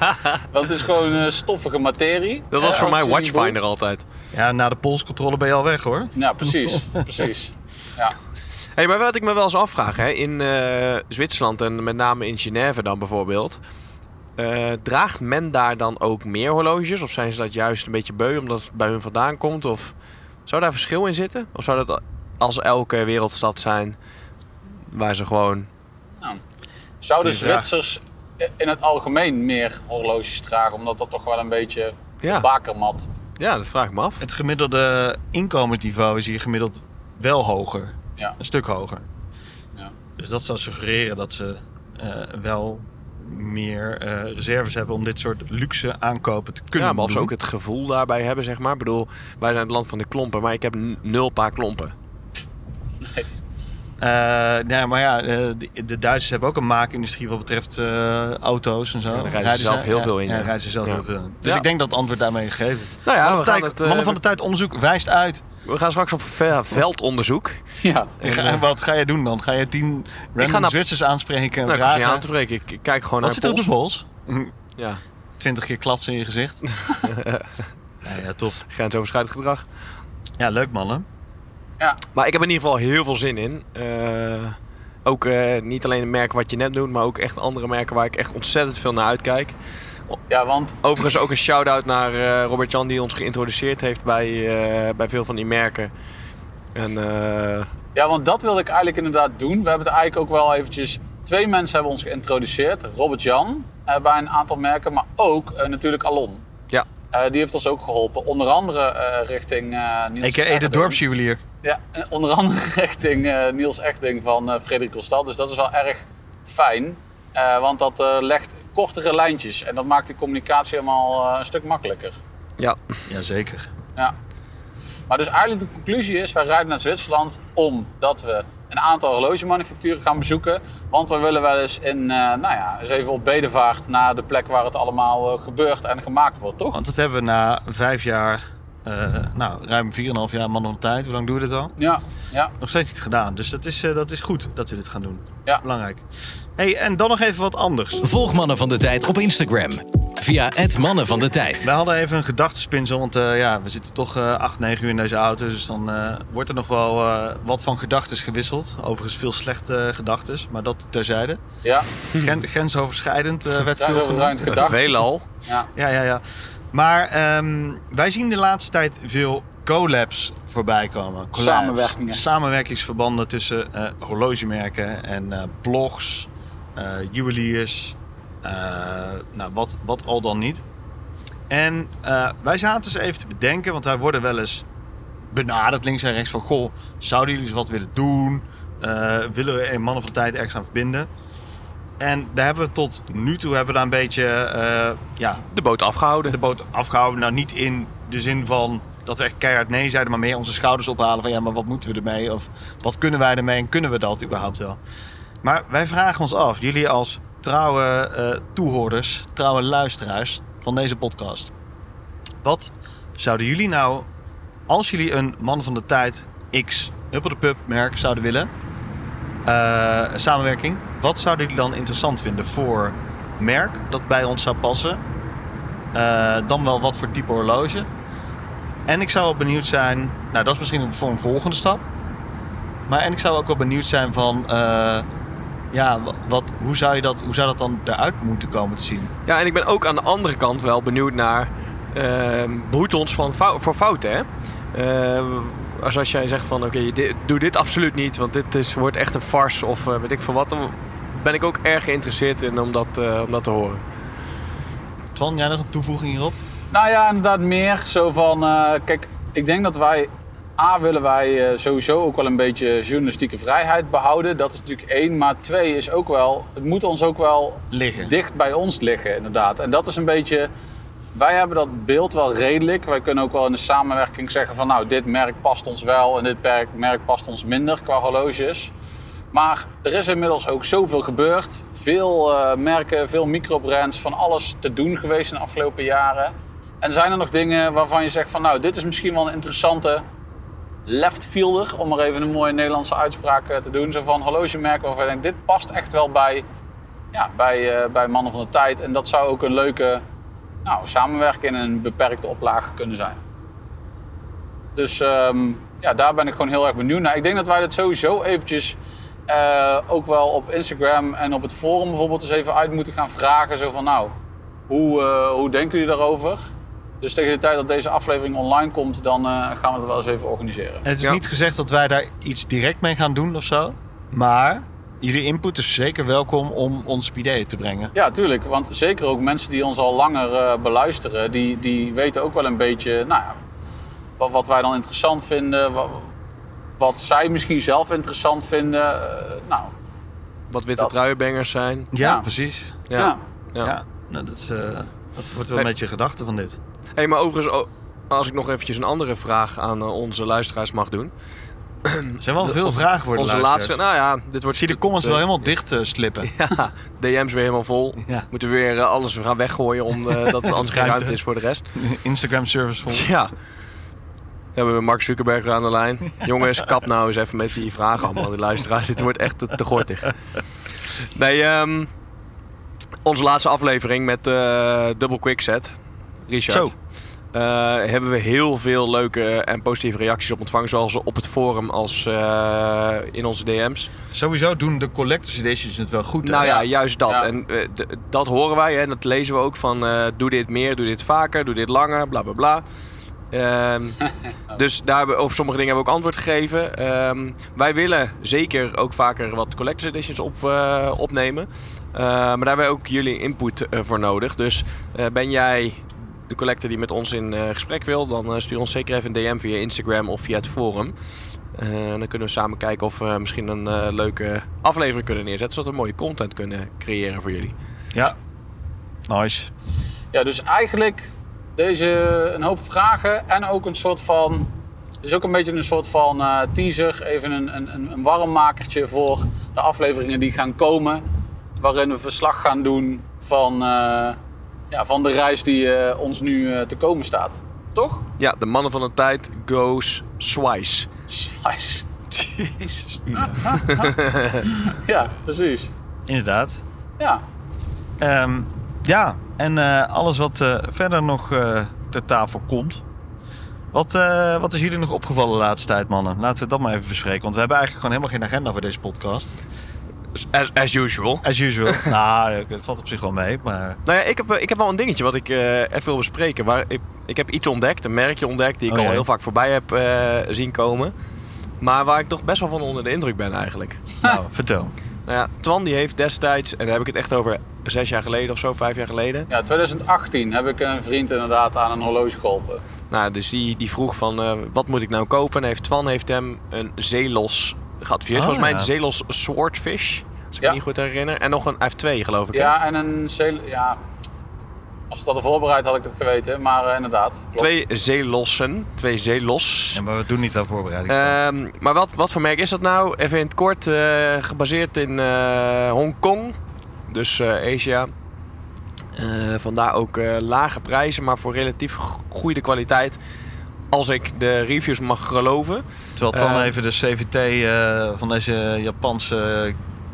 S4: Want het is gewoon eh, stoffige materie.
S5: Dat was
S4: Eh,
S5: voor
S4: als
S5: mij
S4: het je niet boeit.
S5: Watchfinder altijd.
S3: Ja, na de polscontrole ben je al weg hoor.
S4: Ja, precies. precies. Ja.
S5: Hey, maar wat ik me wel eens afvraag, hè, in eh, Zwitserland en met name in Genève dan bijvoorbeeld. eh, draagt men daar dan ook meer horloges? Of zijn ze dat juist een beetje beu omdat het bij hun vandaan komt? Of zou daar verschil in zitten? Of zou dat als elke wereldstad zijn waar ze gewoon...
S4: Zouden
S3: Goeie vraag.
S4: Zwitsers eh, in het algemeen meer horloges dragen? Omdat dat toch wel een beetje
S5: Ja.
S4: de bakermat.
S3: [LAUGHS]
S5: Ja, dat vraag ik me af.
S3: Het gemiddelde inkomensniveau is hier gemiddeld wel hoger.
S4: Ja.
S3: Een stuk hoger.
S4: Ja.
S3: Dus dat zou suggereren dat ze eh, wel meer eh, reserves hebben om dit soort luxe aankopen te kunnen
S5: ja, maar als ze
S3: doen.
S5: ook het gevoel daarbij hebben, zeg maar. Ik bedoel, wij zijn het land van de klompen, maar ik heb n- nul paar klompen.
S3: Nou Eh, nee, maar ja, eh, de, de Duitsers hebben ook een maakindustrie wat betreft eh, auto's en zo.
S5: daar rijden ze zelf heel veel in,
S3: Ja,
S5: ja.
S3: rijden ze zelf
S5: Ja.
S3: heel veel in. Dus
S5: Ja.
S3: ik denk dat het antwoord daarmee gegeven is.
S5: Nou ja,
S3: Mannen
S5: we
S3: van,
S5: gaan,
S3: tijd,
S5: het, eh,
S3: Mannen van de Tijd onderzoek wijst uit.
S5: we gaan straks op ve- veldonderzoek.
S4: Ja.
S3: Ik ga- [LAUGHS] wat ga je doen dan? Ga je tien random
S5: naar-
S3: Zwitsers aanspreken en
S5: Nou, ik hoef
S3: vragen?
S5: je niet aan te spreken. Ik, ik kijk gewoon
S3: Wat
S5: naar
S3: zit er op de
S5: pols.
S3: pols?
S5: Ja,
S3: Twintig keer klatsen in je
S5: [LAUGHS]
S3: gezicht. nou ja, tof.
S5: grensoverschrijdend gedrag.
S3: Ja, leuk mannen.
S5: Maar ik heb in ieder geval heel veel zin in. Eh, ook eh, niet alleen het merk wat je net doet, maar ook echt andere merken waar ik echt ontzettend veel naar uitkijk.
S4: ja, want
S5: Overigens ook een shout-out naar eh, Robert-Jan die ons geïntroduceerd heeft bij, eh, bij veel van die merken. En eh,
S4: Ja, want dat wilde ik eigenlijk inderdaad doen. We hebben het eigenlijk ook wel eventjes... Twee mensen hebben ons geïntroduceerd. Robert Jan eh, bij een aantal merken, maar ook eh, natuurlijk Alon.
S5: ja,
S4: Eh, die heeft ons ook geholpen. Onder andere eh, richting... eh Niels
S3: Ik eet de
S4: Erdogan.
S3: dorpsjuwelier.
S4: Ja, eh, onder andere [LAUGHS] richting eh, Niels Echting van eh Frederik Constant. Dus dat is wel erg fijn. eh, want dat eh, legt kortere lijntjes. En dat maakt de communicatie helemaal eh, een stuk makkelijker.
S5: ja,
S3: Jazeker.
S4: Ja. Maar dus eigenlijk de conclusie is, wij rijden naar Zwitserland omdat we een aantal horlogemanufacturen gaan bezoeken. Want we willen wel eens in, eh, nou ja, eens even op bedevaart naar de plek waar het allemaal eh, gebeurt en gemaakt wordt, toch?
S3: Want dat hebben we na vijf jaar, eh, nou ruim 4,5 jaar mannen van de tijd. Hoe lang doen we dit al?
S4: Ja, ja.
S3: Nog steeds niet gedaan. Dus dat is, eh, dat is goed dat we dit gaan doen.
S4: Ja.
S3: Belangrijk. hey, en dan nog even wat anders.
S1: Volg Mannen van de Tijd op Instagram via het Mannen van de Tijd.
S3: Wij hadden even een gedachtenspinsel, want eh, ja, we zitten toch eh, acht, negen uur in deze auto. Dus dan eh, wordt er nog wel eh, wat van gedachten gewisseld. Overigens veel slechte eh, gedachten, maar dat terzijde.
S4: ja.
S3: Gren- grensoverschrijdend eh, werd veel
S4: Grensoverschrijdend
S3: genoemd.
S4: gedacht.
S5: veelal.
S4: Ja.
S3: Ja, ja, ja. Maar ehm, wij zien de laatste tijd veel collabs voorbij komen. Collabs.
S4: Samenwerkingen.
S3: Samenwerkingsverbanden tussen eh, horlogemerken en eh, blogs, eh, juweliers, eh, nou, wat, wat al dan niet. En eh, wij zaten eens even te bedenken, want wij worden wel eens benaderd links en rechts van... Goh, zouden jullie eens wat willen doen? Eh, willen we een mannen van tijd ergens aan verbinden? En daar hebben we tot nu toe hebben we daar een beetje eh, ja,
S5: De boot afgehouden.
S3: de boot afgehouden. Nou, niet in de zin van dat we echt keihard nee zeiden, maar meer onze schouders ophalen van ja, maar wat moeten we ermee? Of wat kunnen wij ermee en kunnen we dat überhaupt wel? Maar wij vragen ons af, jullie als trouwe eh, toehoorders, trouwe luisteraars van deze podcast. Wat zouden jullie nou, als jullie een man van de tijd X, Huppel de Pub merk zouden willen, eh, samenwerking, wat zouden jullie dan interessant vinden voor merk dat bij ons zou passen? Eh, dan wel wat voor type horloge. En ik zou wel benieuwd zijn, nou dat is misschien voor een volgende stap. Maar en ik zou ook wel benieuwd zijn van, eh, ja, wa- wat, hoe, zou je dat, hoe zou dat dan eruit moeten komen te zien?
S5: Ja, en ik ben ook aan de andere kant wel benieuwd naar ehm behoedt ons van fou- voor fouten. Hè? Eh, als, als jij zegt van oké, di- doe dit absoluut niet, want dit is, wordt echt een farce of eh, weet ik veel wat. Dan ben ik ook erg geïnteresseerd in om dat, eh, om dat te horen.
S3: Twan, jij nog een toevoeging hierop?
S4: Nou ja, inderdaad meer zo van... eh, kijk, ik denk dat wij... A, willen wij eh, sowieso ook wel een beetje journalistieke vrijheid behouden. Dat is natuurlijk één. Maar twee is ook wel... Het moet ons ook wel
S3: Liggen.
S4: dicht bij ons liggen, inderdaad. En dat is een beetje wij hebben dat beeld wel redelijk. Wij kunnen ook wel in de samenwerking zeggen van nou, dit merk past ons wel en dit merk- merk past ons minder qua horloges. Maar er is inmiddels ook zoveel gebeurd. Veel eh, merken, veel microbrands, van alles te doen geweest in de afgelopen jaren. En zijn er nog dingen waarvan je zegt van nou, dit is misschien wel een interessante left fielder, om maar even een mooie Nederlandse uitspraak eh, te doen. Zo van horlogemerken waarvan je denkt, dit past echt wel bij, ja, bij, eh, bij Mannen van de Tijd. En dat zou ook een leuke nou, samenwerking in een beperkte oplage kunnen zijn. Dus ehm, ja, daar ben ik gewoon heel erg benieuwd naar. Ik denk dat wij dat sowieso eventjes eh, ook wel op Instagram en op het forum bijvoorbeeld eens even uit moeten gaan vragen. Zo van nou, hoe, eh, hoe denken jullie daarover? Dus tegen de tijd dat deze aflevering online komt, dan eh, gaan we dat wel eens even organiseren.
S3: En het is
S5: Ja.
S3: niet gezegd dat wij daar iets direct mee gaan doen of zo. Maar jullie input is zeker welkom om ons op ideeën te brengen.
S4: Ja, tuurlijk. Want zeker ook mensen die ons al langer eh, beluisteren, die, die weten ook wel een beetje nou ja, wat, wat wij dan interessant vinden. Wat, wat zij misschien zelf interessant vinden. eh, nou,
S5: Wat witte
S4: Dat.
S5: truienbengers zijn.
S3: Ja,
S4: Ja.
S3: precies.
S5: Ja.
S4: ja.
S5: Ja.
S3: Ja, Nou, dat, is, eh, dat wordt wel
S5: Hey.
S3: een beetje gedachte van dit.
S5: Hey, maar overigens, o- als ik nog eventjes een andere vraag aan eh, onze luisteraars mag doen.
S3: Er zijn wel veel vragen voor de
S5: onze
S3: luisteraars.
S5: laatste. Nou ja, dit wordt.
S3: Ik zie de comments wel helemaal dicht eh, [LAUGHS] slippen.
S5: [LAUGHS] Ja, DM's weer helemaal vol.
S3: Ja.
S5: Moeten we weer eh, alles gaan weggooien omdat
S3: [LAUGHS]
S5: er anders geen
S3: Ruimte.
S5: ruimte is voor de rest.
S3: Instagram service vol.
S5: [LAUGHS] Ja. Hebben we Mark Zuckerberg aan de lijn. Jongens, kap nou eens even met die vragen allemaal. Die luisteraars, dit wordt echt te, te gortig. Nee, ehm, onze laatste aflevering met eh Double Quickset. Richard.
S3: Zo.
S5: Eh, hebben we heel veel leuke en positieve reacties op ontvangen. Zowel op het forum als eh, in onze DM's.
S3: Sowieso doen de collectors editions het wel goed. hè?
S5: Nou ja, juist dat.
S4: Ja.
S5: En eh, d- dat horen wij hè, en dat lezen we ook van eh, doe dit meer, doe dit vaker, doe dit langer, bla bla bla. Ehm, Dus daar hebben, we- op sommige dingen hebben we ook antwoord gegeven. Ehm, wij willen zeker ook vaker wat collectors editions op, eh, opnemen. Eh, maar daar hebben we ook jullie input eh, voor nodig. Dus eh, ben jij de collector die met ons in eh, gesprek wil, dan eh, stuur ons zeker even een DM via Instagram of via het forum. Eh, dan kunnen we samen kijken of we misschien een eh, leuke aflevering kunnen neerzetten. Zodat we mooie content kunnen creëren voor jullie.
S3: Ja. Nice.
S4: Ja, dus eigenlijk deze een hoop vragen en ook een soort van. Het is ook een beetje een soort van eh, teaser, even een, een, een- een warmmakertje voor de afleveringen die gaan komen. Waarin we verslag gaan doen van, eh, ja, van de reis die eh, ons nu eh, te komen staat. Toch?
S5: Ja, de mannen van de tijd goes Swice.
S4: Slice.
S3: Jezus.
S4: [LAUGHS] Ja, precies.
S3: Inderdaad.
S4: Ja,
S3: Ehm, ja, en eh, alles wat eh, verder nog eh, ter tafel komt. Wat, eh, wat is jullie nog opgevallen de laatste tijd, mannen? Laten we dat maar even bespreken. Want we hebben eigenlijk gewoon helemaal geen agenda voor deze podcast.
S5: Dus As, as usual.
S3: As [LAUGHS] usual. nou, het valt op zich wel mee, maar...
S5: Nou ja, ik heb, eh, ik heb wel een dingetje wat ik eh, even wil bespreken. Waar ik, ik heb iets ontdekt, een merkje ontdekt, die ik
S3: Oh,
S5: al
S3: jee.
S5: heel vaak voorbij heb eh, zien komen. Maar waar ik toch best wel van onder de indruk ben eigenlijk.
S3: Nou, vertel.
S5: Nou ja, Twan die heeft destijds, en daar heb ik het echt over zes jaar geleden of zo, vijf jaar geleden.
S4: ja 2018 heb ik een vriend inderdaad aan een horloge geholpen.
S5: Nou, dus die, die vroeg van, eh, wat moet ik nou kopen? En heeft, Twan heeft hem een Zelos geadviseerd.
S3: Oh,
S5: Volgens mij
S3: ja.
S5: een Zelos Swordfish, als ik
S4: Ja.
S5: me niet goed herinner. En nog een, hij heeft twee geloof ik. hè?
S4: Ja, en een. cel- Ja, als ik dat had voorbereid had ik het geweten, maar eh, inderdaad. Klopt.
S5: Twee Zelossen, twee Zelos.
S3: Ja, maar we doen niet aan voorbereiding.
S5: Ehm, maar wat, wat voor merk is dat nou? Even in het kort, eh, gebaseerd in eh, Hongkong, dus eh, Asia. Eh, vandaar ook eh, lage prijzen, maar voor relatief go- goede kwaliteit. Als ik de reviews
S3: [LAUGHS]
S5: mag geloven.
S3: Terwijl Twan
S5: eh,
S3: even de CVT eh, van deze Japanse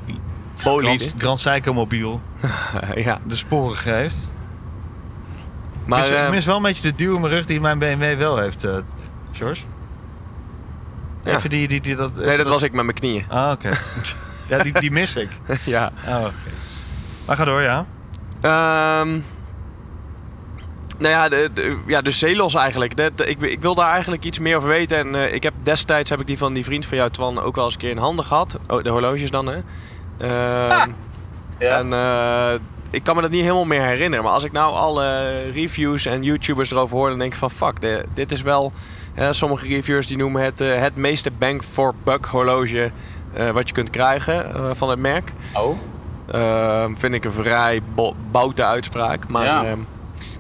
S3: eh, Grand, Grand Seiko mobiel
S5: ja,
S3: de sporen geeft.
S5: maar
S3: ik, mis, ik
S5: eh,
S3: mis wel een beetje de duw in mijn rug die mijn BMW wel heeft, eh George.
S5: Ja.
S3: Even die, die, die dat...
S5: nee, dat was ik met mijn knieën.
S3: Ah, oké. [LAUGHS] ja, die, die mis ik.
S5: ja.
S3: Oh, oké. Maar ga door, ja.
S5: Ehm, nou ja, de, de- ja, de Zelos eigenlijk. Dat- ik, ik wil daar eigenlijk iets meer over weten. En eh, ik heb destijds heb ik die van die vriend van jou, Twan, ook wel eens een keer in handen gehad. Oh, de horloges dan, hè? Ehm,
S4: Ja.
S5: En eh, ik kan me dat niet helemaal meer herinneren. Maar als ik nou alle reviews en YouTubers erover hoor, dan denk ik van fuck, de- dit is wel. hè, sommige reviewers die noemen het eh, het meeste bang for buck horloge eh, wat je kunt krijgen eh, van het merk.
S4: Oh,
S5: Ehm, vind ik een vrij bo- boute uitspraak. Maar
S4: Ja.
S5: ehm,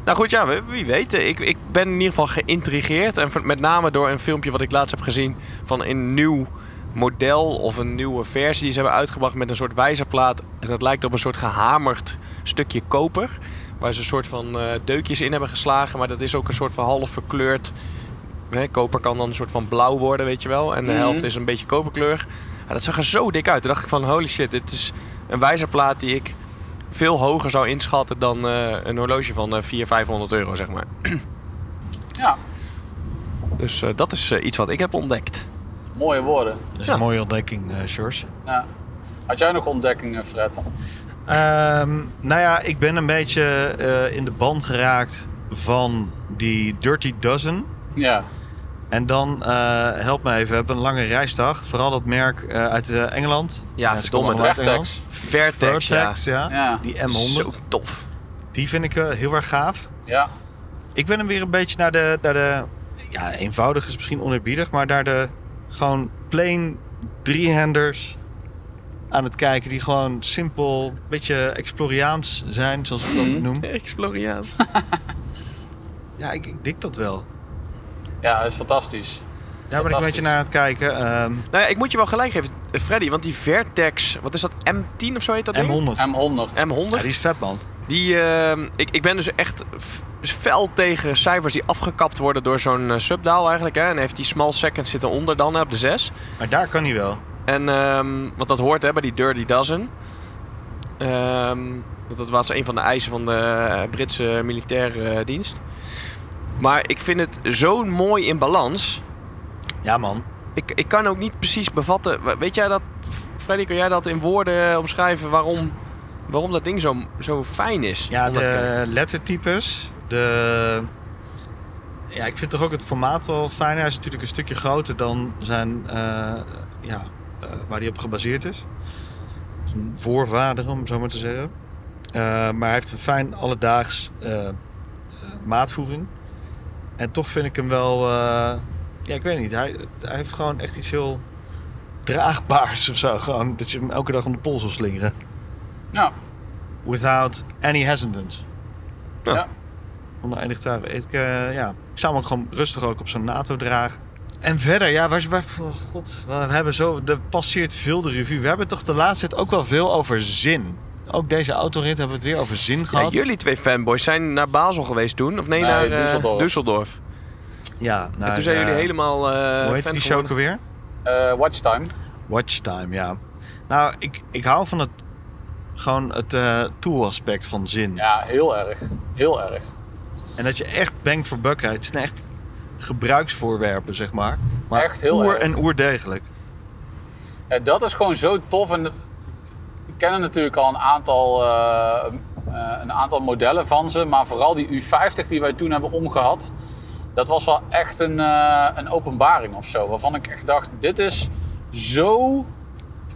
S5: Nou goed, ja, wie- wie weet. Ik, ik ben in ieder geval geïntrigeerd. En voor- met name door een filmpje wat ik laatst heb gezien van een nieuw model of een nieuwe versie die ze hebben uitgebracht met een soort wijzerplaat. En dat lijkt op een soort gehamerd stukje koper. Waar ze een soort van eh, deukjes in hebben geslagen. Maar dat is ook een soort van half verkleurd. Hè, koper kan dan een soort van blauw worden, weet je wel.
S3: Mhm.
S5: En de helft is een beetje koperkleur. Ja, dat zag er zo dik uit. Toen dacht ik van holy shit, dit is een wijzerplaat die ik veel hoger zou inschatten dan eh, een horloge van eh 400, 500 euro, zeg maar.
S4: Ja,
S5: Dus eh, dat is eh, iets wat ik heb ontdekt.
S4: mooie woorden.
S3: Dat is
S5: Ja.
S3: een mooie ontdekking, eh Sjors.
S4: Ja. Had jij nog ontdekkingen, Fred?
S3: Ehm, nou ja, ik ben een beetje eh, in de band geraakt van die Dirty Dozen.
S4: Ja.
S3: En dan, eh, help me even, we hebben een lange reisdag. Vooral dat merk eh, uit eh, Engeland.
S5: Ja,
S3: ze
S5: verdomme,
S3: komen allemaal uit
S4: Vertex.
S5: Vertex,
S3: Engeland. Vertex,
S5: ja.
S3: ja.
S4: Ja.
S3: Die M100.
S5: Zo tof.
S3: Die vind ik eh, heel erg gaaf.
S4: Ja.
S3: Ik ben hem weer een beetje naar de, naar de... Ja, eenvoudig is misschien oneerbiedig, maar naar de gewoon plain driehanders aan het kijken. Die gewoon simpel, een beetje exploriaans zijn, zoals ik dat noem.
S5: Exploriaans.
S3: Ja, ik, ik dik dat wel.
S4: Ja, dat is fantastisch.
S3: Daar ben ik een beetje naar aan het kijken. Ehm,
S5: nou ja, ik moet je wel gelijk geven, eh, Freddy. Want die Vertex, wat is dat, M10 of zo heet dat ding?
S3: M100.
S4: M100.
S3: Ja,
S5: M100.
S3: die is vet, man.
S5: Die, ehm, ik, ik ben dus echt f- fel tegen cijfers die afgekapt worden door zo'n eh, subdaal eigenlijk. Hè. En heeft die small seconds zitten onder dan hè, op de 6.
S3: Maar daar kan hij wel.
S5: En ehm, want dat hoort hè, bij die Dirty Dozen. Ehm, dat, dat was een van de eisen van de eh, Britse militaire eh, dienst. Maar ik vind het zo mooi in balans.
S3: Ja, man.
S5: Ik, ik kan ook niet precies bevatten. we- Weet jij dat, Freddy, kun jij dat in woorden eh, omschrijven waarom, waarom dat ding zo, zo fijn is?
S3: Ja,
S5: om dat te-
S3: de lettertypes. De... Ja, ik vind toch ook het formaat wel fijn. Hij is natuurlijk een stukje groter dan zijn, eh, ja, eh, waar hij op gebaseerd is. Zijn voorvader, om het zo maar te zeggen. Eh, maar hij heeft een fijn alledaags eh, eh, maatvoering. En toch vind ik hem wel... eh, ja, ik weet niet. Hij, hij heeft gewoon echt iets heel draagbaars of zo. Gewoon dat je hem elke dag om de pols wil slingeren.
S4: Ja.
S3: Without any hesitance.
S4: Ja.
S3: Oneindig twijfel. Ik, eh, ja, ik zou hem ook gewoon rustig ook op zo'n NATO dragen. En verder, ja, waar, waar, oh god, we hebben zo, er passeert veel de revue. We hebben toch de laatste tijd ook wel veel over zin. Ook deze autorit hebben we het weer over zin
S5: Ja,
S3: gehad.
S5: jullie twee fanboys zijn naar Basel geweest toen. Of nee,
S4: Nee,
S5: naar eh,
S4: Düsseldorf.
S5: Düsseldorf.
S3: Ja, nou,
S5: en toen zijn
S3: eh,
S5: jullie helemaal eh
S3: Hoe heet
S5: fan
S3: die show ook
S5: geworden.
S3: weer?
S4: Eh, watchtime.
S3: Watchtime, ja. Nou, ik, ik hou van het, gewoon het eh tool-aspect van zin.
S4: Ja, heel erg. Heel erg.
S3: En dat je echt bang voor buck hebt. Het zijn echt gebruiksvoorwerpen, zeg maar. Maar
S4: Echt heel
S3: oer
S4: erg.
S3: en oerdegelijk.
S4: Ja, dat is gewoon zo tof. En we kennen natuurlijk al een aantal, eh, eh, een aantal modellen van ze. Maar vooral die U50 die wij toen hebben omgehad. Dat was wel echt een, eh, een openbaring of zo. Waarvan ik echt dacht, dit is zo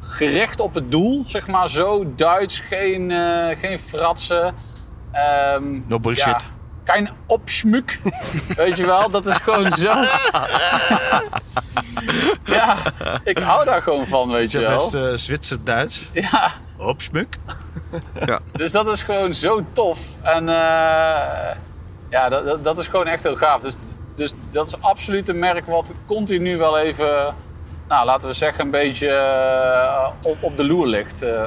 S4: gericht op het doel. Zeg maar zo Duits, geen, eh, geen fratsen. Ehm,
S3: No bullshit.
S4: Geen opschmuk. [LAUGHS] Weet je wel, dat is gewoon zo. ja, ik hou daar gewoon van, weet je
S3: Ja,
S4: wel.
S3: best eh, Zwitser-Duits.
S4: Ja,
S3: Opsmuk.
S4: dus dat is gewoon zo tof. En eh, ja, dat, dat, dat is gewoon echt heel gaaf. Dus, dus dat is absoluut een merk wat continu wel even, nou laten we zeggen, een beetje eh, op, op de loer ligt. Eh,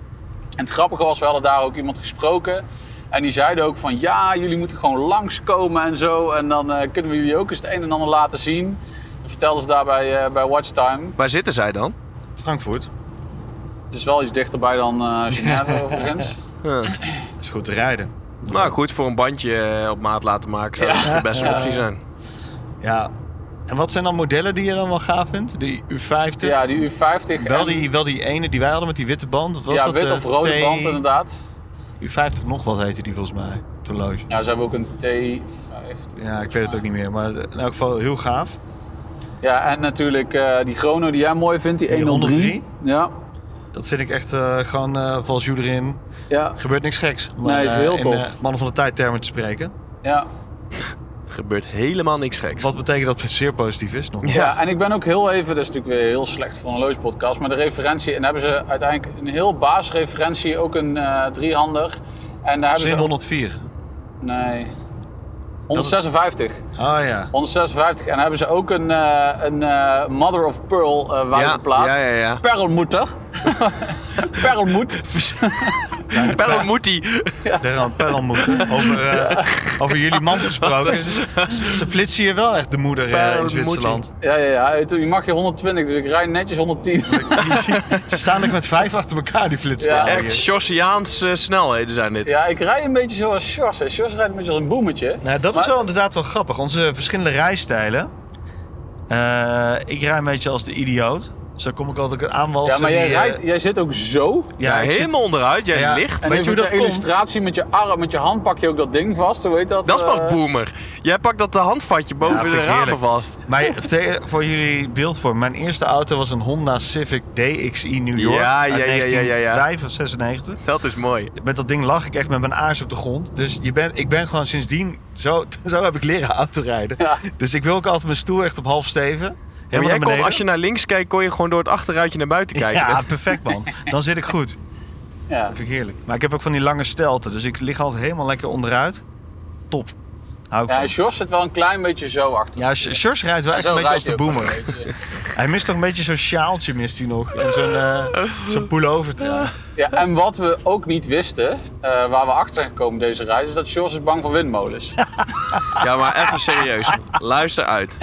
S4: [CLEARS THROAT] en het grappige was, we hadden daar ook iemand gesproken. En die zeiden ook van, ja, jullie moeten gewoon langskomen en zo. En dan eh, kunnen we jullie ook eens het een en ander laten zien. Dat vertelden ze daar bij, eh, bij Watchtime.
S5: Waar zitten zij dan?
S3: Frankfurt.
S4: Het is wel iets dichterbij dan eh
S3: [LAUGHS]
S4: Genève overigens.
S3: Is goed te rijden.
S5: Nou goed, voor een bandje eh, op maat laten maken zou dat de beste optie zijn.
S3: Ja. En wat zijn dan modellen die je dan wel gaaf vindt? Die U50?
S4: Ja, die U50.
S3: Wel
S4: en-
S3: die, wel die ene die wij hadden met die witte band? Of was
S4: ja,
S3: dat
S4: wit
S3: de
S4: of rode
S3: T-
S4: band inderdaad.
S3: U50 nog wat heette die volgens mij. Het horloge.
S4: Ja, ze hebben ook een T50.
S3: Ja, ik weet het ook niet meer. Maar in elk geval heel gaaf.
S4: Ja, en natuurlijk eh, die chrono die jij mooi vindt, die,
S3: Die
S4: 103.
S3: 103?
S4: Ja,
S3: Dat vind ik echt eh, gewoon eh valjoe erin.
S4: ja,
S3: Gebeurt niks geks. om,
S4: Nee, is
S3: eh,
S4: heel
S3: in,
S4: tof.
S3: eh, mannen van de tijd termen te spreken.
S4: ja.
S5: Gebeurt helemaal niks geks.
S3: Wat betekent dat het zeer positief is nog?
S4: Ja. en ik ben ook heel even, dat is natuurlijk weer heel slecht voor een loodspodcast, maar de referentie, en daar hebben ze uiteindelijk een heel baasreferentie, ook een eh, driehander. En daar hebben
S3: Zin
S4: ze
S3: 104.
S4: Nee. 156.
S3: Oh ja.
S4: 156. En dan hebben ze ook een, eh, een eh, Mother of Pearl eh waar
S5: Ja,
S4: geplaatst.
S5: ja, ja, ja.
S4: Perlmutter. Perlmoed.
S5: Perl moet die.
S3: Daar aan perl moeten. Over, eh, over jullie man gesproken. Ze, ze- ze flitsen je wel echt de moeder eh,
S5: Perl
S3: in
S5: moet
S3: Zwitserland.
S4: Ja, ja, ja. Het- Je mag je 120, dus ik rij netjes 110.
S3: Je ziet- [LAUGHS] ze staan ook met vijf achter elkaar, die flitspalen.
S4: Ja,
S5: Echt Sjorsiaans eh, snelheden zijn
S4: [LAUGHS]
S5: dit.
S4: Ja, ik rij een beetje zoals Sjors. hè. Sjors rijdt een beetje als een boemetje.
S3: Nou, dat
S4: Maar-
S3: is wel inderdaad wel grappig. Onze verschillende rijstijlen. Eh, ik rij een beetje als de idioot. Zo kom ik altijd aan
S4: Ja, maar jij, rijdt,
S3: eh, Ja,
S4: jij zit ook zo.
S5: Ja,
S3: ik zit-
S5: helemaal onderuit. Jij
S3: Ja.
S5: ligt.
S4: En
S3: Weet
S4: even
S3: je hoe dat
S4: ter
S3: komt?
S4: illustratie met je arm, met je hand pak je ook dat ding vast. Hoe heet dat?
S5: Dat is
S4: eh?
S5: pas boomer. Jij pakt dat de
S3: Ja,
S5: handvatje boven
S3: vind
S5: de
S3: ik
S5: ramen
S3: heerlijk.
S5: vast.
S3: Maar voor- voor jullie beeldvorm, mijn eerste auto was een Honda Civic DXi New York.
S5: Ja,
S3: uit
S5: ja, ja, ja, ja, ja.
S3: 1995 of 96.
S5: Dat is mooi.
S3: Met dat ding lag ik echt met mijn aars op de grond. Dus je bent, ik ben gewoon sindsdien... Zo, [LAUGHS] zo heb ik leren autorijden.
S4: Ja.
S3: Dus ik wil ook altijd mijn stoel echt op half steven.
S5: Ja, maar jij kon,
S3: beneden.
S5: als je naar links kijkt, kon je gewoon door het achteruitje naar buiten kijken.
S3: Ja,
S5: Dat-
S3: perfect man. Dan zit ik goed.
S4: Ja.
S3: Vind ik heerlijk. Maar ik heb ook van die lange stelten, dus ik lig altijd helemaal lekker onderuit. Top. Hou ik
S4: ja, en
S3: van.
S4: Sjors zit wel een klein beetje zo achter.
S3: Ja, Sh- Sjors rijdt wel echt een beetje als de boomer.
S4: boemer.
S3: Hij mist toch een beetje zo'n sjaaltje, mist hij nog. En zo'n eh, zo'n pullover trui.
S4: Ja, en wat we ook niet wisten, eh, waar we achter zijn gekomen deze reis, is dat Sjors is bang voor
S3: [LAUGHS]
S4: windmolens.
S5: Ja, maar even serieus. Luister uit.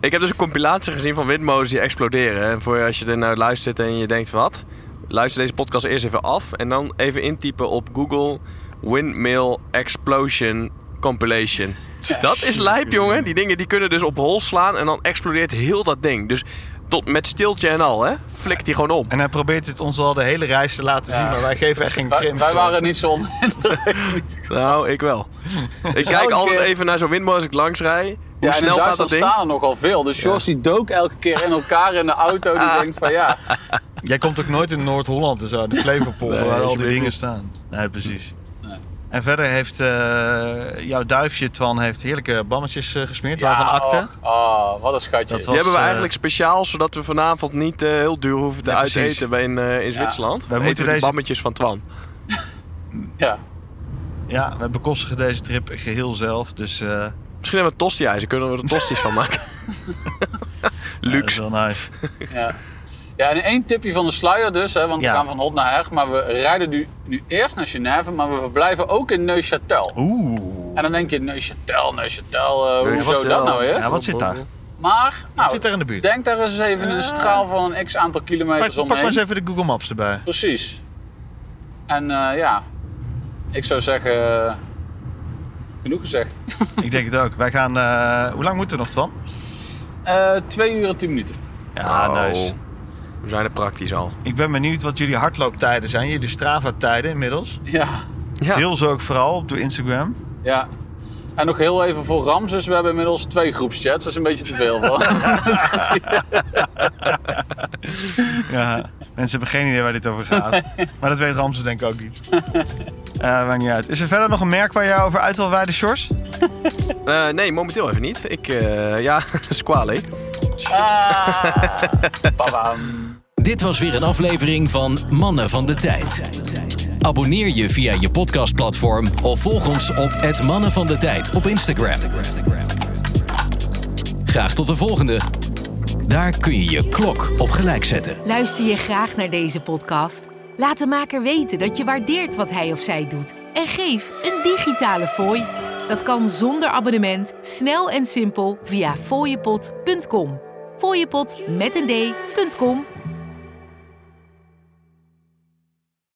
S5: Ik heb dus een compilatie gezien van windmolens die exploderen. En voor als je er nou luistert en je denkt wat, luister deze podcast eerst even af en dan even intypen op Google windmill explosion compilation. Dat is lijp, jongen. Die dingen die kunnen dus op hol slaan en dan explodeert heel dat ding. Dus tot met stiltje en al, hè? Flikt die gewoon om.
S3: En hij probeert het ons al de hele reis te laten zien, maar wij geven echt geen
S4: wij,
S3: krimp.
S4: wij waren niet zo on-
S5: Nou, ik wel. Ik kijk
S4: elke
S5: altijd
S4: keer-
S5: even naar zo'n windmolen als ik langs rij. Hoe
S4: [LAUGHS] Ja, en in
S5: snel gaat dat
S4: Duitsland
S5: ding?
S4: staan er nogal veel. Dus Sjors die dook elke keer in elkaar in de auto.
S3: Ah.
S4: Die denkt van ja,
S3: Jij komt ook nooit in Noord-Holland en zo, de Flevopol,
S5: Nee,
S3: waar al die
S5: alsjeblieft
S3: dingen
S5: niet.
S3: staan. Nee, precies. En verder heeft eh, jouw duifje, Twan, heeft heerlijke bammetjes eh, gesmeerd, waarvan akte.
S4: Oh, oh, wat een schatje.
S3: Dat was-
S5: Die hebben we
S3: eh,
S5: eigenlijk speciaal, zodat we vanavond niet eh, heel duur hoeven te
S3: Nee,
S5: uiteten
S3: precies.
S5: bij in, eh, in Zwitserland.
S3: Wij moeten
S5: We moeten deze...
S3: deze-
S5: de bammetjes van Twan.
S4: [LAUGHS] Ja.
S3: Ja, we bekostigen deze trip geheel zelf, dus... eh,
S5: Misschien hebben we tosti-ijzer, kunnen we er tosti's van
S3: [LAUGHS]
S5: maken.
S3: Dat is
S5: Luxe.
S3: wel nice.
S4: Ja. ja, en één tipje van de sluier dus, hè, want
S3: Ja.
S4: we gaan van hot naar her. Maar we rijden nu, nu eerst naar Genève, maar we verblijven ook in Neuchâtel.
S3: Oeh.
S4: En dan denk je, Neuchâtel, Neuchâtel, eh hoezo
S5: Neuchâtel.
S4: dat nou weer?
S3: Ja, wat zit daar?
S4: Maar, nou,
S3: zit daar in de buurt?
S4: denk daar eens even in een straal van een x aantal
S3: Pak,
S4: kilometers
S3: pak
S4: omheen.
S3: maar eens even de Google Maps erbij.
S4: Precies. En eh, ja, ik zou zeggen, eh, genoeg gezegd.
S3: Ik denk het ook. Wij gaan... eh, hoe lang moeten we nog van?
S4: Eh twee uur en tien minuten.
S3: Ja,
S5: Oh,
S3: nice.
S5: We zijn er praktisch al.
S3: Ik ben benieuwd wat jullie hardlooptijden zijn. Jullie Strava-tijden inmiddels.
S4: Ja,
S5: Ja.
S3: Deel ze ook vooral op de Instagram.
S4: ja. En nog heel even voor Ramses, we hebben inmiddels twee groepschats, dat is een beetje te veel. hoor.
S3: Ja. eh, Mensen hebben geen idee waar dit over gaat. Maar dat weet Ramses denk ik ook niet. Eh maakt niet uit. Is er verder nog een merk waar jij over uit wil wijden, Sjors?
S5: Eh, nee, momenteel even niet. Ik, eh, ja, [LAUGHS] squale.
S4: Ah, babam.
S1: Dit was weer een aflevering van Mannen van de Tijd. Abonneer je via je podcastplatform of volg ons op het Mannen van de Tijd op Instagram. Graag tot de volgende. Daar kun je je klok op gelijk zetten.
S7: Luister je graag naar deze podcast? Laat de maker weten dat je waardeert wat hij of zij doet en geef een digitale fooi. Dat kan zonder abonnement, snel en simpel via fooiepot.com. Fooiepot met een d.com